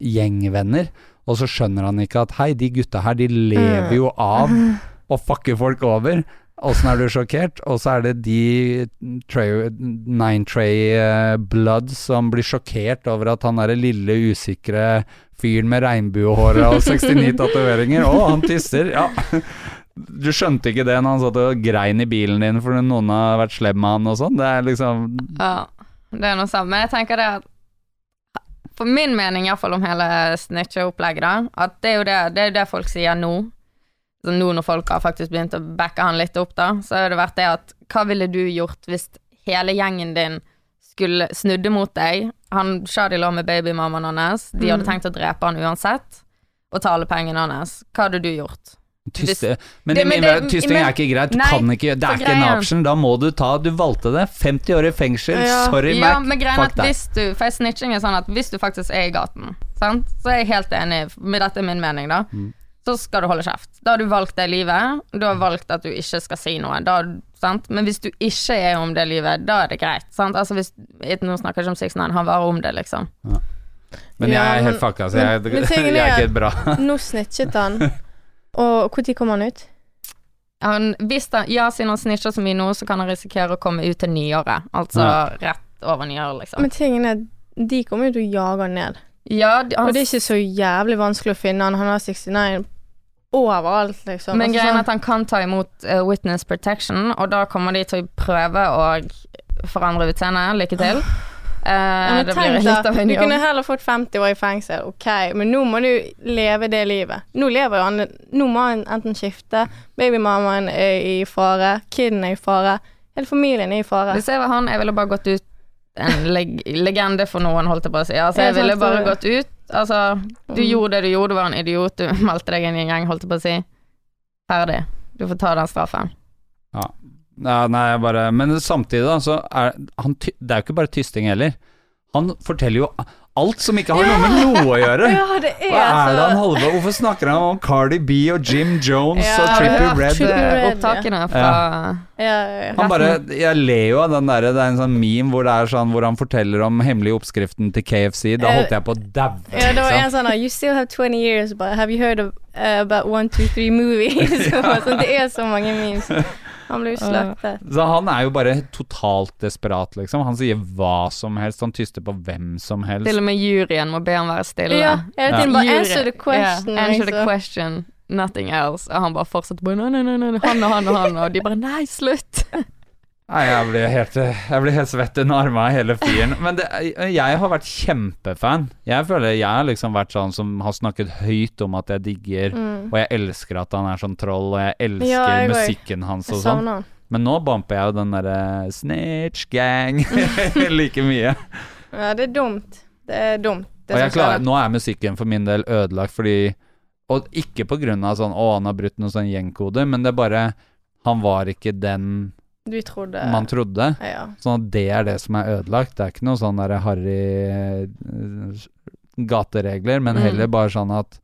Speaker 2: gjengvenner, og så skjønner han ikke at hei, de gutta her, de lever jo av å fucke folk over. Åssen er du sjokkert? Og så er det de Trey- Nine Tray eh, Blood som blir sjokkert over at han derre lille, usikre fyren med regnbuehåret og 69 tatoveringer Å, han tisser! Ja. Du skjønte ikke det når han satt og grein i bilen din fordi noen har vært slem med han og sånn. Det er liksom
Speaker 4: Ja, det er noe samme. Men jeg tenker det at For min mening iallfall om hele snitche-opplegget, da, at det er jo det, det, er jo det folk sier nå. Så nå når folk har faktisk begynt å backe han litt opp, da, så har det vært det at hva ville du gjort hvis hele gjengen din skulle snudde mot deg? Han Shadi lå med babymammaen hans, de hadde tenkt å drepe han uansett, og ta alle pengene hans. Hva hadde du gjort?
Speaker 2: tyste. Men,
Speaker 4: Det-
Speaker 2: det,
Speaker 4: men det-
Speaker 2: tysting
Speaker 4: men-
Speaker 2: er ikke greit. Du
Speaker 4: nei,
Speaker 2: kan ikke gjøre Det
Speaker 4: for
Speaker 2: er ikke en
Speaker 4: greia-
Speaker 2: option. Da må du ta Du valgte det. 50 år i fengsel.
Speaker 3: Ja.
Speaker 2: Sorry,
Speaker 4: Ja, men
Speaker 2: Mac.
Speaker 4: greien er
Speaker 2: Fuck
Speaker 4: at
Speaker 2: deg.
Speaker 4: hvis du For snitching er sånn at hvis du faktisk er i gaten, sant? så er jeg helt enig, med dette er min mening, da,
Speaker 2: Mm.
Speaker 4: så skal du holde kjeft. Da har du valgt det livet, du har valgt at du ikke skal si noe. Da, sant? Men hvis du ikke er om det livet, da er det greit. Sant? Altså hvis, nå snakker jeg ikke om 69, han var om det, liksom.
Speaker 2: Men jeg
Speaker 3: Ja,
Speaker 2: er
Speaker 3: men-
Speaker 2: helt fucka, så
Speaker 3: men-
Speaker 2: jeg,
Speaker 3: men
Speaker 2: jeg
Speaker 3: tingen
Speaker 2: er
Speaker 3: er
Speaker 2: ikke bra.
Speaker 3: Nå snitchet han, og når kom han ut?
Speaker 4: Han, hvis han, ja, siden han snitcher så mye nå, så kan han risikere å komme ut til nyåret. Altså
Speaker 2: Ja.
Speaker 4: rett over nyåret, liksom.
Speaker 3: Men tingen er, de kommer jo til å jage han ned.
Speaker 4: Ja, de- han
Speaker 3: Og det er ikke så jævlig vanskelig å finne han. Han har 69 overalt, liksom.
Speaker 4: Men
Speaker 3: Altså,
Speaker 4: greien
Speaker 3: sånn-
Speaker 4: er at han kan ta imot eh, witness protection, og da kommer de til å prøve å forandre utseendet. Lykke til. Eh,
Speaker 3: Ah. ja, men
Speaker 4: det blir
Speaker 3: tenk
Speaker 4: litt av
Speaker 3: da,
Speaker 4: en
Speaker 3: du
Speaker 4: jobb.
Speaker 3: kunne heller fått 50 år i fengsel, ok, men nå må du leve det livet. Nå lever jo han Nå må han enten skifte, babymammaen er i fare, kiden er i fare, hele familien er i fare.
Speaker 4: Hvis jeg var han, jeg ville bare gått ut en leg legende for noen, holdt jeg på å si. Altså,
Speaker 3: Ja,
Speaker 4: jeg ville
Speaker 3: sant,
Speaker 4: bare
Speaker 3: det-
Speaker 4: gått ut. Altså, du
Speaker 3: Mm.
Speaker 4: gjorde det du gjorde, du var en idiot, du meldte deg inn i en gjeng, holdt jeg på å si. Ferdig. Du får ta den straffen.
Speaker 2: Ja, nei, jeg bare Men samtidig, da, så er han ty Det er jo ikke bare tysting heller. Han forteller jo alt som ikke har noe med noe å gjøre.
Speaker 3: Ja, det
Speaker 2: Hva
Speaker 3: er,
Speaker 2: er
Speaker 4: altså-
Speaker 2: det han
Speaker 3: så
Speaker 2: holder på Hvorfor snakker han om Cardi B og Jim Jones
Speaker 3: Ja,
Speaker 2: og
Speaker 3: har du
Speaker 2: Trippy
Speaker 3: hørt
Speaker 2: Red?
Speaker 3: Trippie Redd, ja.
Speaker 4: Eh, Opptakene fra
Speaker 3: ja, ja, ja.
Speaker 2: Han bare, jeg ler jo av den der, det er en sånn meme hvor, det er sånn, hvor han forteller om hemmelige oppskriften til KFC. Da holdt jeg på å daue.
Speaker 3: Eh, Ja, det var
Speaker 2: liksom.
Speaker 3: en sånn her, You still have 20 years, but have you heard of, eh, about one, two, three movies? sånn, det er så mange memes. Han ble jo slaktet.
Speaker 2: Så han er jo bare totalt desperat, liksom. Han sier hva som helst, han tyster på hvem som
Speaker 4: Til
Speaker 2: helst.
Speaker 4: og med juryen må be han være stille.
Speaker 3: Ja, hele tiden bare answer the question.
Speaker 4: Yeah, answer the
Speaker 3: liksom.
Speaker 4: question, nothing else. Og han bare fortsatte bare nei, nei, nei, nei, han og han og han, og de bare nei, slutt.
Speaker 2: Nei, jeg blir helt, jeg blir helt svett under armene, hele fyren. Men det, jeg har vært kjempefan. Jeg føler jeg har liksom vært sånn som har snakket høyt om at jeg digger,
Speaker 3: Mm.
Speaker 2: og jeg elsker at han er sånn troll, og jeg elsker
Speaker 3: Ja, jeg går.
Speaker 2: musikken hans og
Speaker 3: Jeg
Speaker 2: sånn.
Speaker 3: savner han.
Speaker 2: Men nå bamper jeg jo den derre snitch gang like mye.
Speaker 3: Ja, det er dumt. Det er sånn dumt. Det
Speaker 2: Og jeg
Speaker 3: som skjer.
Speaker 2: klarer, nå er musikken for min del ødelagt fordi Og ikke på grunn av sånn Å, han har brutt noen sånn gjengkode, men det er bare Han var ikke den
Speaker 3: Du trodde
Speaker 2: man trodde.
Speaker 3: Ja.
Speaker 2: Sånn at det er det som er ødelagt. Det er ikke noe sånn derre harry eh, gateregler, men
Speaker 4: Mm.
Speaker 2: heller bare sånn at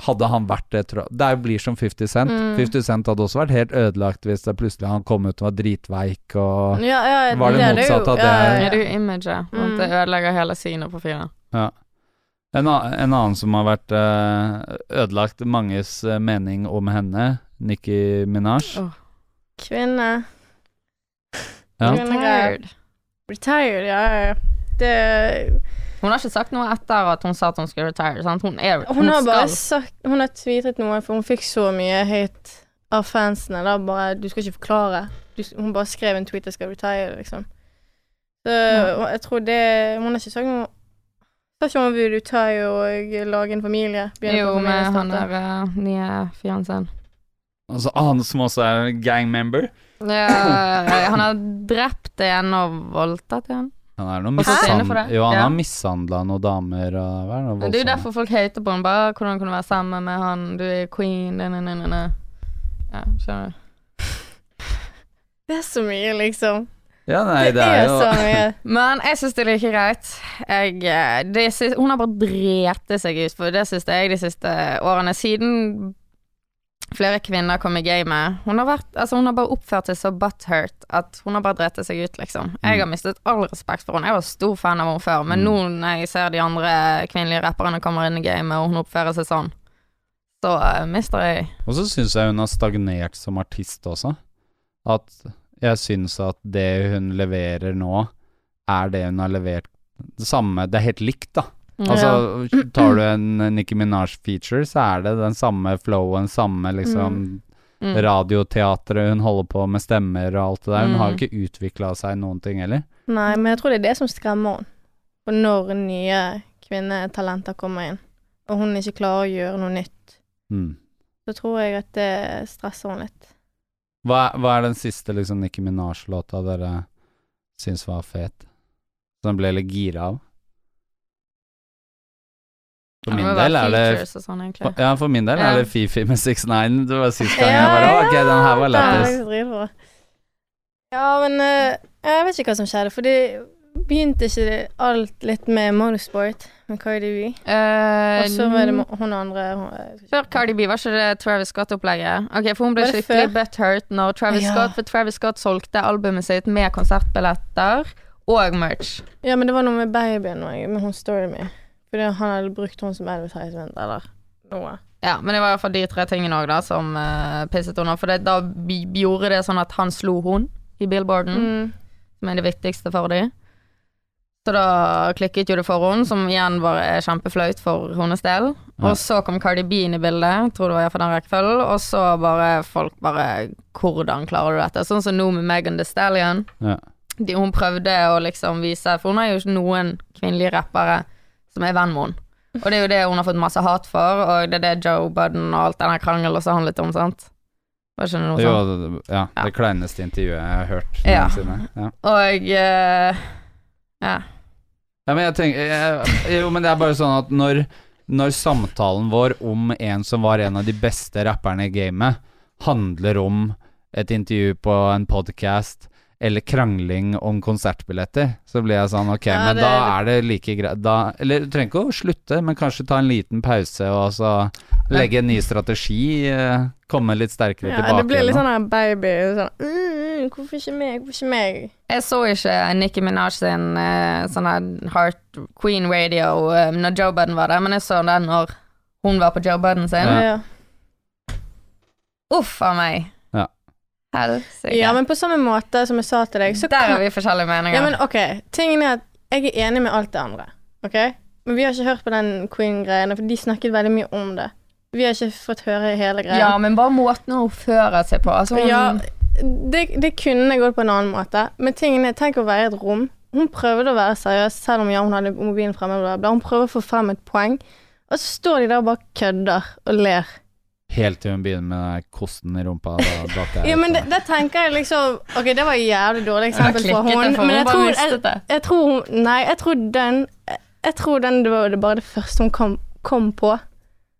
Speaker 2: hadde han vært det tro- Det er- blir som 50 Cent.
Speaker 3: Mm.
Speaker 2: 50 Cent hadde også vært helt ødelagt hvis det plutselig han kom ut og var dritveik og
Speaker 3: ja, ja
Speaker 2: Var det
Speaker 3: er jo-
Speaker 2: motsatt av det?
Speaker 3: Ja,
Speaker 4: Ja,
Speaker 3: ja,
Speaker 4: det er
Speaker 3: ja.
Speaker 4: jo imaget. og
Speaker 3: Mm.
Speaker 4: at Det ødelegger hele synet på fyren.
Speaker 2: En, a- en annen som har vært eh, ødelagt manges eh, mening om henne, Nikki Minaj.
Speaker 4: Åh.
Speaker 3: Kvinne.
Speaker 2: Ja.
Speaker 3: Kvinnegreier.
Speaker 4: Tired.
Speaker 3: Retired, ja, ja. ja. Det
Speaker 4: Hun har ikke sagt noe etter at hun sa at hun skulle retire. Sant? Hun er
Speaker 3: Hun har bare
Speaker 4: skal.
Speaker 3: sagt Hun har tweetet noe, for hun fikk så mye hate av fansene. Da bare Du skal ikke forklare. Du, hun bare skrev en tweet jeg skal retire, liksom. Så og jeg tror det Hun har ikke sagt noe Sa ikke hun vil retire og lage en familie? Begynne
Speaker 4: Jo,
Speaker 3: på
Speaker 4: med han
Speaker 3: familiestøtte.
Speaker 4: der eh, nye fiancéen.
Speaker 2: Altså, han som også er gang member.
Speaker 4: Ja, han har drept en og voldtatt en.
Speaker 2: Han er noe
Speaker 4: Og så inne for
Speaker 2: mishandla
Speaker 4: det.
Speaker 2: Jo, han
Speaker 4: Ja.
Speaker 2: har mishandla noen damer og hva er det,
Speaker 4: Men Det er jo
Speaker 2: voldsomt.
Speaker 4: derfor folk hater på henne. Bare hvordan kunne du være sammen med han, du er queen ne, ne, ne, ne, ne. Ja, skjønner du.
Speaker 3: Det er så mye, liksom.
Speaker 2: Ja, nei, det,
Speaker 3: det
Speaker 2: er jo
Speaker 3: så mye.
Speaker 4: Men jeg syns det er like greit. Jeg, eh, det syns- hun har bare drete seg ut, for det syns jeg de siste årene. Siden flere kvinner kom i gamet. Hun har, vært, altså hun har bare oppført seg så butthurt at hun har bare drete seg ut, liksom. Jeg
Speaker 2: Mm.
Speaker 4: har mistet all respekt for henne. Jeg var stor fan av henne før, men nå når jeg ser de andre kvinnelige rapperne kommer inn i gamet, og hun oppfører seg sånn, så eh, mister jeg
Speaker 2: Og så syns jeg hun har stagnert som artist også. At jeg syns at det hun leverer nå, er det hun har levert det samme Det er helt likt, da. Altså, tar du en Nicki Minaj-feature, så er det den samme flowen, samme liksom
Speaker 4: Mm.
Speaker 2: radioteatret hun holder på med stemmer og alt det der. Hun har
Speaker 4: Mm.
Speaker 2: jo ikke utvikla seg noen ting heller.
Speaker 3: Nei, men jeg tror det er det som skremmer henne. For når nye kvinnetalenter kommer inn, og hun ikke klarer å gjøre noe nytt,
Speaker 2: Mm.
Speaker 3: så tror jeg at det stresser henne litt.
Speaker 2: Hva, hva er den siste liksom Nicki Minaj-låta dere syns var fet? Som ble litt gira av? For min del er det
Speaker 4: features og sånn, egentlig.
Speaker 2: Ja, for min del
Speaker 4: Ja.
Speaker 2: er det Fifi med 6ix9ine. Det var sist gang jeg
Speaker 3: Ja,
Speaker 2: bare Ok, den her var
Speaker 3: Det er jeg
Speaker 2: lættis.
Speaker 3: faktisk dritbra. Ja, men eh, jeg vet ikke hva som skjedde, for det begynte ikke det alt litt med Motorsport, med Cardi B,
Speaker 4: Eh,
Speaker 3: og så var det med hun andre hun, eh, jeg husker ikke.
Speaker 4: Før Cardi B, var ikke det Travis Scott-opplegget? Ok, For hun ble
Speaker 3: Var det
Speaker 4: skikkelig
Speaker 3: før?
Speaker 4: butthurt når Travis
Speaker 3: Ja.
Speaker 4: Scott For Travis Scott solgte albumet sitt med konsertbilletter og merch.
Speaker 3: Ja, men det var noe med babyen òg, med hun Stormy. Fordi han hadde brukt henne som advertisement, eller noe.
Speaker 4: Ja, Men det var i hvert fall de tre tingene også, da, som eh, pisset henne av. For det, da bi- gjorde det sånn at han slo hun i billboarden,
Speaker 3: Mm.
Speaker 4: som er det viktigste for dem. Så da klikket jo det for henne, som igjen var eh, kjempeflaut for hennes del.
Speaker 2: Ja.
Speaker 4: Og så kom Cardi B inn i bildet, jeg tror det var i hvert fall den rekkefølgen, og så bare folk bare Hvordan klarer du dette? Sånn som nå med Megan Thee Stallion.
Speaker 2: Ja.
Speaker 4: de, hun prøvde å liksom vise For hun har jo ikke noen kvinnelige rappere som er venn med henne. Og det er jo det hun har fått masse hat for, og det er det Joe Budden og alt den der krangelen også handlet om, sant? Var ikke det noe
Speaker 2: Det
Speaker 4: sånt?
Speaker 3: sånn.
Speaker 2: var det- ja,
Speaker 4: Ja.
Speaker 2: det kleineste intervjuet jeg har hørt
Speaker 4: Ja.
Speaker 2: noensinne. Ja.
Speaker 4: Og eh, ja.
Speaker 2: Ja, men jeg tenker jeg, Jo, men det er bare sånn at når Når samtalen vår om en som var en av de beste rapperne i gamet, handler om et intervju på en podkast eller krangling om konsertbilletter, så blir jeg sånn ok,
Speaker 3: Ja,
Speaker 2: men
Speaker 3: det-
Speaker 2: da er det like greit da, Eller du trenger ikke å slutte, men kanskje ta en liten pause og så legge en ny strategi, eh, komme litt sterkere
Speaker 3: Ja,
Speaker 2: tilbake.
Speaker 3: det blir
Speaker 2: eller
Speaker 3: litt
Speaker 2: noe.
Speaker 3: sånn her baby sånn, mm, Hvorfor ikke meg? Hvorfor ikke meg?
Speaker 4: Jeg så ikke Nicki Minaj sin eh, sånn her Heart Queen Radio eh, når Joe Budden var der, men jeg så den når hun var på Joe Budden sin.
Speaker 2: Ja.
Speaker 3: Ja.
Speaker 4: Uff a meg.
Speaker 2: Ja.
Speaker 4: Helsike.
Speaker 3: ja, men på samme måte som jeg sa til deg, så
Speaker 4: Der har vi forskjellige meninger.
Speaker 3: Ja, men ok, tingen er at jeg er enig med alt det andre, ok? Men vi har ikke hørt på den Queen-greiene, for de snakket veldig mye om det. Vi har ikke fått høre hele greia.
Speaker 4: Ja, men bare måten hun oppfører seg på. Altså, hun,
Speaker 3: Ja,
Speaker 4: sånn-
Speaker 3: det, det kunne gått på en annen måte, men tingen er, tenk å være i et rom. Hun prøvde å være seriøs, selv om ja, hun hadde mobilen fremme, bla, bla. Hun prøver å få frem et poeng, og så står de der og bare kødder og ler.
Speaker 2: Helt til hun begynner med den kosten i rumpa. Da, datt jeg
Speaker 3: Ja,
Speaker 2: ut av
Speaker 3: men det,
Speaker 2: det.
Speaker 3: da tenker jeg liksom Ok, det var et jævlig dårlig eksempel
Speaker 4: klikket
Speaker 3: for hun,
Speaker 4: det for
Speaker 3: men
Speaker 4: hun
Speaker 3: jeg
Speaker 4: bare
Speaker 3: tror, jeg,
Speaker 4: mistet det.
Speaker 3: jeg tror hun Nei, jeg tror den Jeg, jeg tror den det var det bare det første hun kom, kom på.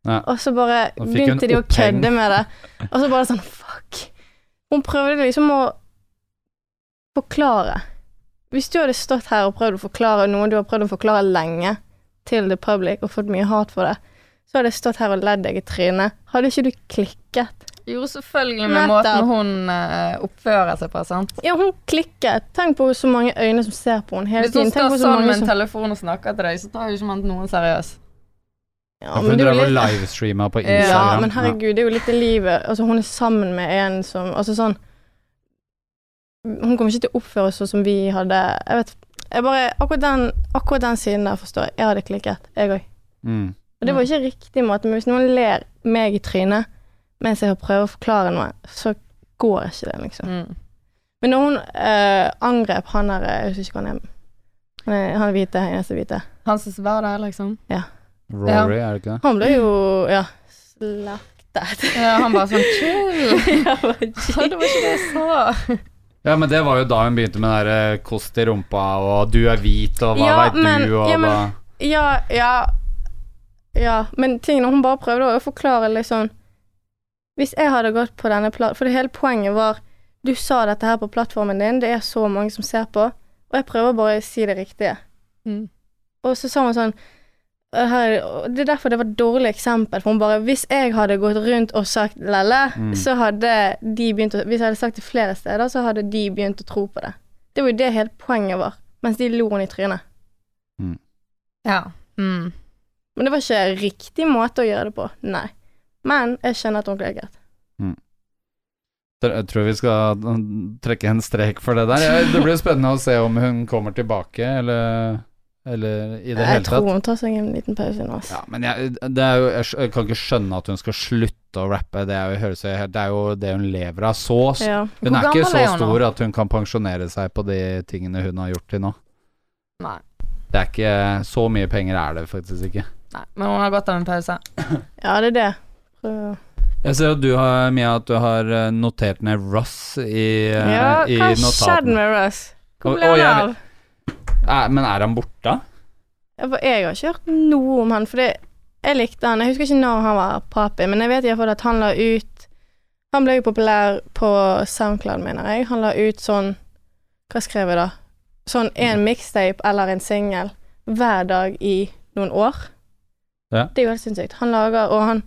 Speaker 2: Ja.
Speaker 3: Og så bare
Speaker 2: Da fikk hun
Speaker 3: begynte de å
Speaker 2: oppheng.
Speaker 3: kødde med det. Og så bare sånn Fuck. Hun prøvde liksom å forklare. Hvis du hadde stått her og prøvd å forklare noe du har prøvd å forklare lenge til the public og fått mye hat for det, så hadde jeg stått her og ledd deg i trynet. Hadde ikke du klikket?
Speaker 4: Jo, selvfølgelig med
Speaker 3: Nettopp.
Speaker 4: måten hun eh, oppfører seg på. sant?
Speaker 3: Ja, hun klikket. Tenk på så mange øyne som ser på henne hele
Speaker 4: Hvis
Speaker 3: tiden.
Speaker 4: hun
Speaker 3: Tenk
Speaker 4: står
Speaker 3: på så
Speaker 4: sånn
Speaker 3: mange
Speaker 4: med en
Speaker 3: som...
Speaker 4: telefon og snakker til deg, så tar jo ikke man noen seriøst.
Speaker 2: Ja, for
Speaker 3: men
Speaker 2: hun
Speaker 3: det er jo
Speaker 2: drev og
Speaker 3: litt-
Speaker 2: livestreama på
Speaker 4: Ja,
Speaker 2: Instagram.
Speaker 3: Ja, men herregud, det er jo litt i livet. Altså, hun er sammen med en som Altså sånn Hun kommer ikke til å oppføre seg sånn som vi hadde Jeg vet jeg bare, akkurat, den, akkurat den siden der forstår jeg. Jeg hadde klikket, jeg òg.
Speaker 2: Mm.
Speaker 3: Og det var ikke riktig måte, men hvis noen ler meg i trynet mens jeg prøver å forklare noe, så går ikke det, liksom.
Speaker 4: Mm.
Speaker 3: Men når hun eh, angrep han der Jeg husker ikke hva han er. Han er, han er hvite, eneste hvite.
Speaker 4: Han synes bare det, liksom.
Speaker 2: Rory, er det ikke det?
Speaker 3: Han ble jo ja, Mm. slaktet.
Speaker 4: Ja, han bare sånn chill.
Speaker 3: Jeg bare,
Speaker 4: Ja, det var ikke det jeg sa.
Speaker 2: Ja, men det var jo da hun begynte med den der eh, kost i rumpa og du er hvit og hva
Speaker 3: Ja,
Speaker 2: veit
Speaker 3: men-
Speaker 2: du og
Speaker 3: ja, men-
Speaker 2: da
Speaker 3: ja, ja, ja. Men tingene hun bare prøvde å forklare litt sånn Hvis jeg hadde gått på denne plattformen For det hele poenget var Du sa dette her på plattformen din, det er så mange som ser på, og jeg prøver bare å si det riktige.
Speaker 4: Mm.
Speaker 3: Og så sa hun sånn «Øh, her, og Det er derfor det var et dårlig eksempel. For hun bare Hvis jeg hadde gått rundt og sagt Lelle,
Speaker 2: Mm.
Speaker 3: så hadde de begynt å Hvis jeg hadde sagt det flere steder, så hadde de begynt å tro på det. Det var jo det hele poenget var. Mens de lo henne i trynet.
Speaker 4: Ja. Mm.
Speaker 3: Men det var ikke riktig måte å gjøre det på. Nei. Men jeg skjønner at hun klikket.
Speaker 2: Tr- Jeg tror vi skal mm, trekke en strek for det der. Ja, Det blir spennende å se om hun kommer tilbake, eller, eller i det
Speaker 3: Jeg
Speaker 2: hele
Speaker 3: tror
Speaker 2: tatt.
Speaker 3: hun tar seg en liten pause nå. ass.
Speaker 2: Ja, men jeg, det er jo, jeg skj- jeg kan ikke skjønne at hun skal slutte å rappe. Det er jo, høres jo helt- det, er jo det hun lever av. Så, s-
Speaker 3: Ja.
Speaker 2: hun
Speaker 4: Hvor
Speaker 2: er ikke
Speaker 4: gammel
Speaker 2: så
Speaker 4: er hun nå?
Speaker 2: stor at hun kan pensjonere seg på de tingene hun har gjort til nå.
Speaker 4: Nei.
Speaker 2: Det er ikke Så mye penger er det faktisk ikke.
Speaker 4: Nei. Men hun har godt av en pause.
Speaker 3: ja, det er det. Prøv. å-
Speaker 2: Jeg ser jo du har, Mia, at du har eh, notert ned Russ i, eh,
Speaker 3: Ja,
Speaker 2: i
Speaker 3: hva skjedde
Speaker 2: notatene.
Speaker 3: med Russ? Hvor
Speaker 2: Og-
Speaker 3: ble
Speaker 2: og
Speaker 3: han
Speaker 2: jeg
Speaker 3: av?
Speaker 2: vet- Er- Men er han borte?
Speaker 3: Ja, for Jeg har ikke hørt noe om han, for det, jeg likte han. Jeg husker ikke når han var papi, men jeg vet iallfall at han la ut Han ble jo populær på SoundCloud, mener jeg. Han la ut sånn Hva skrev jeg da? Sånn en mixtape eller en singel hver dag i noen år.
Speaker 2: Ja.
Speaker 3: Det er jo helt sinnssykt. Han lager, og han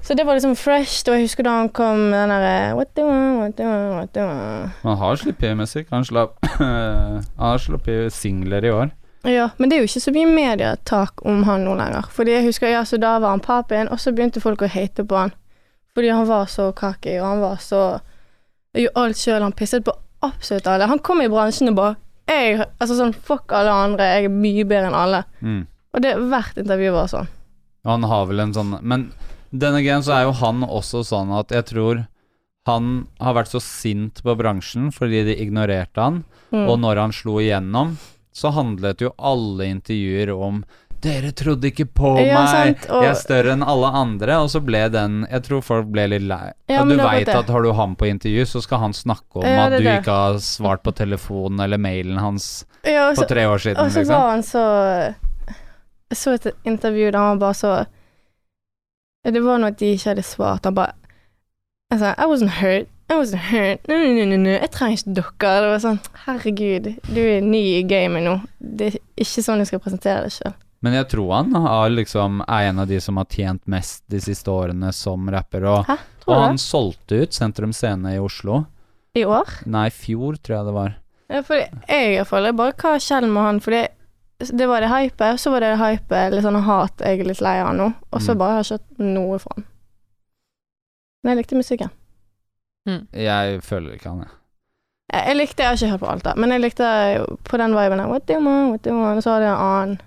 Speaker 3: Så det var liksom fresh. Og jeg husker da han kom med den derre What do you want, what do you want, what do you want.
Speaker 2: Han har sluppet musikk. Han, slapp, han har sluppet singler i år.
Speaker 3: Ja, men det er jo ikke så mye medietak om han nå lenger. Fordi jeg husker, ja, så Da var han papien, og så begynte folk å hate på han. Fordi han var så cocky, og han var så Gjorde alt sjøl. Han pisset på absolutt alle. Han kom i bransjen og bare jeg, altså sånn, Fuck alle andre, jeg er mye bedre enn alle.
Speaker 2: Mm.
Speaker 3: Og det hvert intervju var sånn.
Speaker 2: Og han har vel en sånn Men denne gangen så er jo han også sånn at jeg tror han har vært så sint på bransjen fordi de ignorerte han,
Speaker 3: Mm.
Speaker 2: og når han slo igjennom, så handlet jo alle intervjuer om dere trodde ikke på
Speaker 3: Ja,
Speaker 2: meg,
Speaker 3: sant, og-
Speaker 2: jeg er større enn alle andre, og så ble den Jeg tror folk ble litt lei.
Speaker 3: Ja,
Speaker 2: og
Speaker 3: men
Speaker 2: du
Speaker 3: det er
Speaker 2: veit
Speaker 3: akkurat det.
Speaker 2: at har du han på intervju, så skal han snakke om
Speaker 3: Ja,
Speaker 2: at
Speaker 3: det er
Speaker 2: du
Speaker 3: det.
Speaker 2: ikke har svart på telefonen eller mailen hans
Speaker 3: Ja, og
Speaker 2: på
Speaker 3: så,
Speaker 2: tre år siden,
Speaker 3: og så
Speaker 2: liksom.
Speaker 3: var han så Jeg så et intervju der han bare så Det var noe at de ikke hadde svart. Han bare altså, I wasn't hurt. Jeg var sånn «Hø, nø, nø, nø, nø, Jeg trenger ikke dere. Det var sånn Herregud, du er ny i gamet nå. Det er ikke sånn du skal presentere deg sjøl.
Speaker 2: Men jeg tror han har liksom, er en av de som har tjent mest de siste årene som rapper. Og,
Speaker 3: Hæ?
Speaker 2: og
Speaker 3: Tror
Speaker 2: han
Speaker 3: du det?
Speaker 2: solgte ut Sentrum Scene i Oslo.
Speaker 3: I år?
Speaker 2: Nei, i fjor, tror jeg det var.
Speaker 3: Ja, fordi jeg iallfall er bare Hva skjer med han? Fordi det var det hypet, og så var det hypet litt sånn hat jeg er litt lei av nå, og så
Speaker 2: Mm.
Speaker 3: bare har jeg ikke hatt noe fra han. Men jeg likte musikken.
Speaker 2: Jeg føler ikke han, jeg.
Speaker 3: Jeg, jeg likte Jeg har ikke hørt på alt, da, men jeg likte på den viben der What do you want, what do you want? Og så var det en annen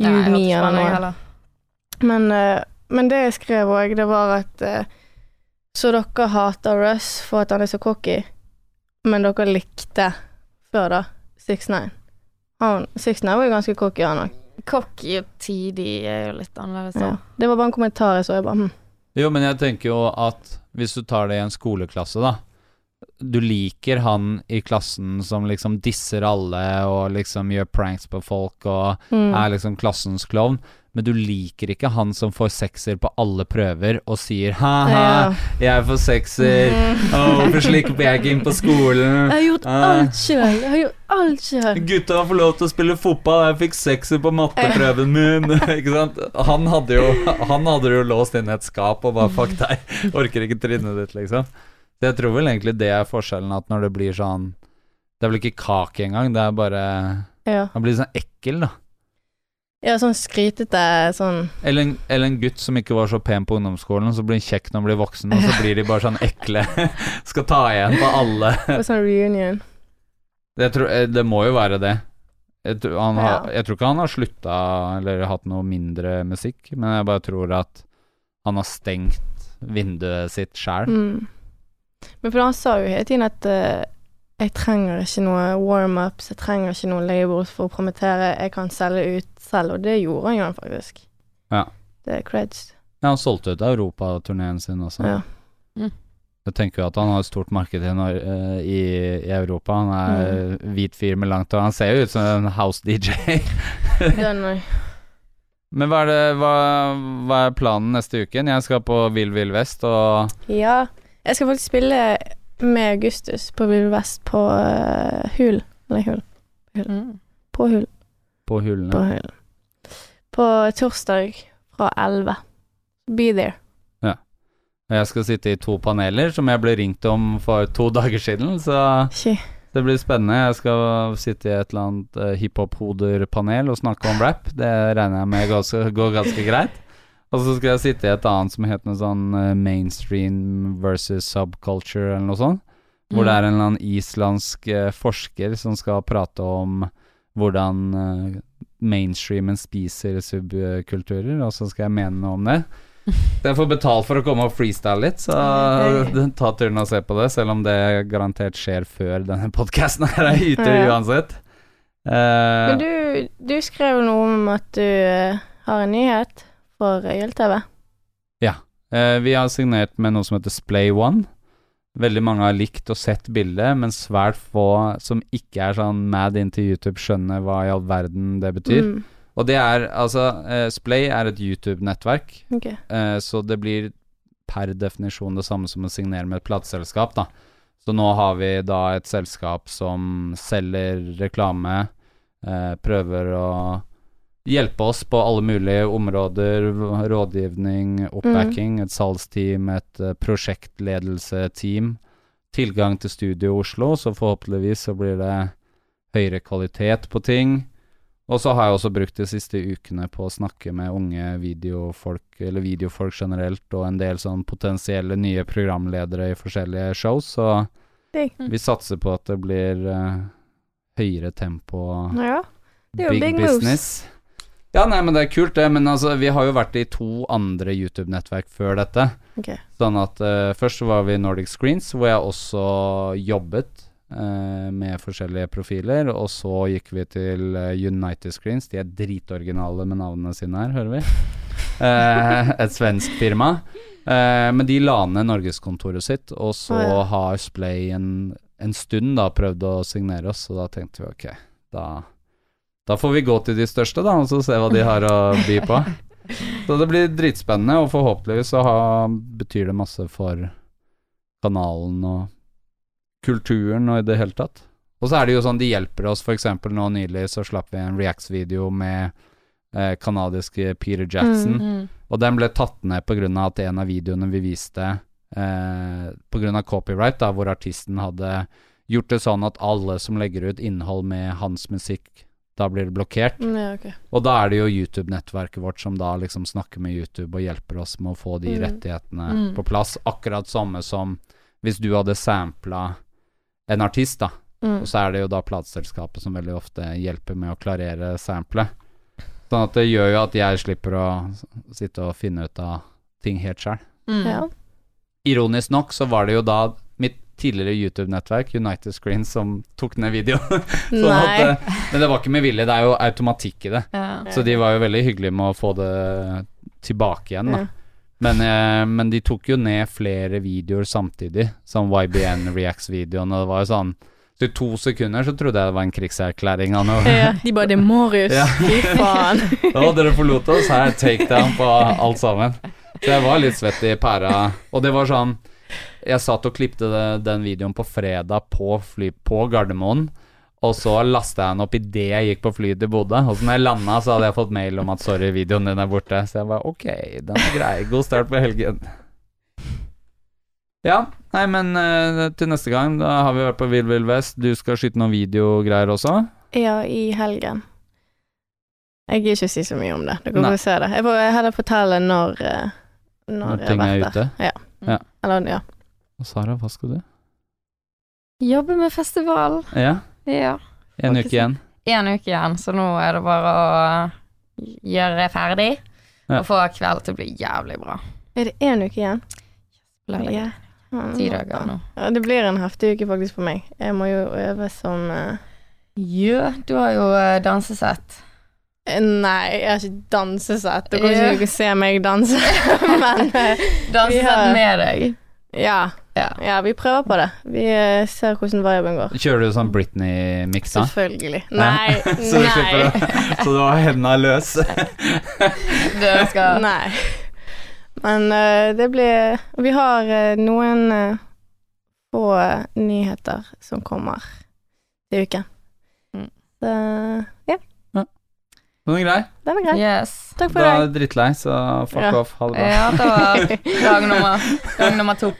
Speaker 3: You,
Speaker 4: Nei, jeg hørte
Speaker 3: me,
Speaker 4: ikke
Speaker 3: eller
Speaker 4: på den, jeg
Speaker 3: noe.
Speaker 4: heller.
Speaker 3: Men, eh, men det jeg skrev òg, det var at eh, Så dere hater Russ for at han er så cocky, men dere likte før da 6ix9ine. Han 6ix9ine var jo ganske cocky, han òg.
Speaker 4: Cocky og tidig er jo litt annerledes.
Speaker 3: Ja.
Speaker 4: da.
Speaker 3: Det var bare en kommentar jeg så. Jeg bare, hm.
Speaker 2: Jo, men jeg tenker jo at hvis du tar det i en skoleklasse, da Du liker han i klassen som liksom disser alle og liksom gjør pranks på folk og
Speaker 3: Mm.
Speaker 2: er liksom klassens klovn, men du liker ikke han som får sekser på alle prøver og sier ha-ha,
Speaker 3: Ja.
Speaker 2: jeg får sekser,
Speaker 3: Mm.
Speaker 2: Å, hvorfor slipper jeg ikke inn på
Speaker 3: Jeg
Speaker 2: skolen?
Speaker 3: har gjort
Speaker 2: Ah.
Speaker 3: alt sjøl. Jeg har gjort alt sjøl.
Speaker 2: Gutta får lov til å spille fotball, jeg fikk sekser på matteprøven min. ikke sant? Han hadde jo, han hadde jo låst inn i et skap og bare fuck deg, orker ikke trinnet ditt, liksom. Så jeg tror vel egentlig det er forskjellen, at når det blir sånn Det er vel ikke kake engang, det er bare
Speaker 3: Ja.
Speaker 2: Han blir sånn ekkel, da.
Speaker 3: ja, sånn skrytete sånn
Speaker 2: Eller en, eller en gutt som ikke var så pen på ungdomsskolen, så blir han kjekk når han blir voksen, og så blir de bare sånn ekle. Skal ta igjen på alle.
Speaker 3: på sånn reunion.
Speaker 2: Jeg tror, eh, det må jo være det. Jeg tror, han har,
Speaker 3: Ja.
Speaker 2: jeg tror ikke han har slutta eller hatt noe mindre musikk, men jeg bare tror at han har stengt vinduet sitt sjæl.
Speaker 3: Mm. Men for han sa jo hele tiden at eh, jeg trenger ikke noe warm-ups, jeg trenger ikke noen labels for å promotere, jeg kan selge ut selv, og det gjorde han jo faktisk.
Speaker 2: Ja.
Speaker 3: Det er creds.
Speaker 2: Ja, han solgte ut europaturneen sin også.
Speaker 3: Ja.
Speaker 4: Mm.
Speaker 2: Jeg tenker jo at han har et stort marked i, Nor- eh, i, i Europa. Han er
Speaker 3: Mm.
Speaker 2: hvit fyr med langt hår. Han ser jo ut som en house-DJ.
Speaker 3: Den òg.
Speaker 2: Men hva er, det, hva, hva er planen neste uken? Jeg skal på Vill Vill Vest, og
Speaker 3: Ja. Jeg skal faktisk spille med Augustus på Vill Vest på eh, Hul. Eller Hul.
Speaker 4: Mm.
Speaker 3: På Hul.
Speaker 2: på
Speaker 3: På
Speaker 2: Hulene.
Speaker 3: Hul. På torsdag fra 11. Be there.
Speaker 2: Og jeg skal sitte i to paneler, som jeg ble ringt om for to dager siden. Så
Speaker 3: Ikke
Speaker 2: det blir spennende. Jeg skal sitte i et eller annet eh, hiphop-hoder-panel og snakke om rap. Det regner jeg med går, går ganske greit. Og så skal jeg sitte i et annet som heter noe sånn eh, mainstream versus subculture, eller noe sånt. Hvor det
Speaker 3: Mm.
Speaker 2: er en eller annen islandsk eh, forsker som skal prate om hvordan eh, mainstreamen spiser subkulturer, og så skal jeg mene noe om det. Så jeg får betalt for å komme og freestyle litt, så eh, ta turen og se på det, selv om det garantert skjer før denne podkasten her er ute
Speaker 3: Ja.
Speaker 2: uansett. Eh,
Speaker 3: Men du, du skrev noe om at du eh, har en nyhet for YLTV.
Speaker 2: Eh, vi har signert med noe som heter Splay One. Veldig mange har likt og sett bildet, men svært få som ikke er sånn mad into YouTube, skjønner hva i all verden det betyr.
Speaker 3: Mm,
Speaker 2: Og det er altså eh, Splay er et YouTube-nettverk,
Speaker 3: ok.
Speaker 2: eh, så det blir per definisjon det samme som å signere med et plateselskap, da. Så nå har vi da et selskap som selger reklame, eh, prøver å hjelpe oss på alle mulige områder, v- rådgivning, oppbacking, et salgsteam, et eh, prosjektledelseteam, tilgang til studio i Oslo, så forhåpentligvis så blir det høyere kvalitet på ting. Og så har jeg også brukt de siste ukene på å snakke med unge videofolk, eller videofolk generelt, og en del sånn potensielle nye programledere i forskjellige shows, så
Speaker 3: Digg.
Speaker 4: Mm.
Speaker 2: vi satser på at det blir eh, høyere tempo og
Speaker 3: Ja. Det er
Speaker 2: big,
Speaker 3: jo big moves.
Speaker 2: business. Ja, nei, men det er kult det, men altså, vi har jo vært i to andre YouTube-nettverk før dette.
Speaker 3: Ok.
Speaker 2: Sånn at eh, først så var vi i Nordic Screens, hvor jeg også jobbet eh, med forskjellige profiler, og så gikk vi til eh, United Screens, de er dritoriginale med navnene sine her, hører vi. Eh, et svensk firma. Eh, men de la ned norgeskontoret sitt, og så
Speaker 3: Å, ja.
Speaker 2: har Splay en, en stund da prøvd å signere oss, og da tenkte vi ok, da, da får vi gå til de største, da, og så se hva de har å by på. Så det blir dritspennende, og forhåpentligvis så ha, betyr det masse for kanalen og kulturen og i det hele tatt. Og så er det jo sånn, de hjelper oss, for eksempel nå nylig så slapp vi en Reacts-video med eh, kanadiske Peter Jackson,
Speaker 4: Mm.
Speaker 2: og den ble tatt ned på grunn av at en av videoene vi viste, eh, på grunn av copyright, da, hvor artisten hadde gjort det sånn at alle som legger ut innhold med hans musikk, da blir det blokkert.
Speaker 3: Mm, ja, ok.
Speaker 2: Og da er det jo YouTube-nettverket vårt som da liksom snakker med YouTube og hjelper oss med å få de
Speaker 3: Mm.
Speaker 2: rettighetene
Speaker 4: Mm.
Speaker 2: på plass. Akkurat samme som hvis du hadde sampla en artist, da. Og
Speaker 3: Mm.
Speaker 2: så er det jo da plateselskapet som veldig ofte hjelper med å klarere samplet. Sånn at det gjør jo at jeg slipper å s- sitte og finne ut av ting helt sjøl.
Speaker 4: Mm.
Speaker 3: Ja.
Speaker 2: Ironisk nok så var det jo da mitt tidligere YouTube-nettverk, United Screens, som tok ned videoen. Sånn at,
Speaker 3: Nei.
Speaker 2: eh, men det var ikke med vilje, det er jo automatikk i det.
Speaker 4: Ja.
Speaker 2: Så de var jo veldig hyggelige med å få det tilbake igjen, da.
Speaker 3: Ja.
Speaker 2: Men, eh, men de tok jo ned flere videoer samtidig, som YBN Reacts-videoen, og det var jo sånn Så i to sekunder så trodde jeg det var en krigserklæring av noe.
Speaker 3: Ja, de bare Det er Marius,
Speaker 2: Ja.
Speaker 3: fy faen.
Speaker 2: Å, dere forlot oss, her er takedown på alt sammen. Så jeg var litt svett i pæra, og det var sånn Jeg satt og klipte det- den videoen på fredag på fly på Gardermoen. Og så lasta jeg den opp idet jeg gikk på flyet til Bodø. Og så når jeg landa, så hadde jeg fått mail om at sorry, videoen din er borte. Så jeg bare ok, den er grei. God start på helgen. Ja, nei, men eh, til neste gang, da har vi vært på Vill Vill Vest. Du skal skyte noen videogreier også?
Speaker 3: Ja, i helgen. Jeg gidder ikke å si så mye om det. Dere
Speaker 2: Nei.
Speaker 3: får se det. Jeg får jeg heller fortelle når, eh, når
Speaker 2: Når
Speaker 3: jeg
Speaker 2: ting
Speaker 3: har
Speaker 2: er
Speaker 3: vært der.
Speaker 2: ute?
Speaker 3: Eller, ja.
Speaker 2: Og Sara, hva skal du?
Speaker 4: Jobbe med festival.
Speaker 2: Ja,
Speaker 4: Ja.
Speaker 2: en
Speaker 4: Ikke
Speaker 2: uke igjen.
Speaker 4: En uke igjen, så nå er det bare å eh, gjøre ferdig.
Speaker 2: Ja.
Speaker 4: Og få kvelden til å bli jævlig bra.
Speaker 3: Er det én uke igjen?
Speaker 4: Lørdag.
Speaker 3: Ja.
Speaker 4: Ti dager nå.
Speaker 3: Ja, det blir en heftig uke faktisk for meg. Jeg må jo øve som eh,
Speaker 4: Jø, du har jo eh, dansesett.
Speaker 3: Nei, jeg har ikke dansesett. Dere kan
Speaker 4: Ja.
Speaker 3: ikke dere se meg danse, men eh,
Speaker 4: Dansesett
Speaker 3: Ja.
Speaker 4: med deg.
Speaker 3: ja.
Speaker 4: Ja.
Speaker 3: ja. Vi prøver på det. Vi eh, ser hvordan viben går.
Speaker 2: Kjører du sånn Britney-miks da?
Speaker 3: Selvfølgelig.
Speaker 2: Ja.
Speaker 3: Nei,
Speaker 2: Så du slipper
Speaker 3: nei.
Speaker 2: å Så du har henda løs?
Speaker 4: Dere skal
Speaker 3: Nei. Men eh, det blir Vi har eh, noen eh, få eh, nyheter som kommer til uken.
Speaker 4: Mm.
Speaker 3: Så ja,
Speaker 2: Den er grei.
Speaker 3: den er grei.
Speaker 4: Yes.
Speaker 3: Takk for
Speaker 2: Da
Speaker 3: i
Speaker 2: er du drittlei, så fuck
Speaker 3: Ja.
Speaker 2: off. Ha det bra.
Speaker 4: Ja, det var
Speaker 3: dag.
Speaker 4: dag nummer, dag nummer to.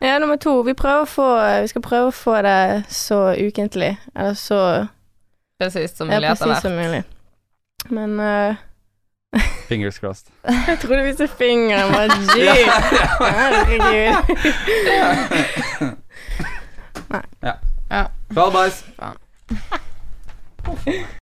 Speaker 3: Ja, nummer to. Vi, prøver å få, eh, vi skal prøve å få det så ukentlig, eller så
Speaker 4: Precis som
Speaker 3: ja,
Speaker 4: mulig etter
Speaker 3: presis
Speaker 4: hvert.
Speaker 3: som mulig. Men eh,
Speaker 2: Fingers crossed.
Speaker 3: jeg trodde vi så fingeren var dyp. Herregud.
Speaker 2: Ha det, bæsj.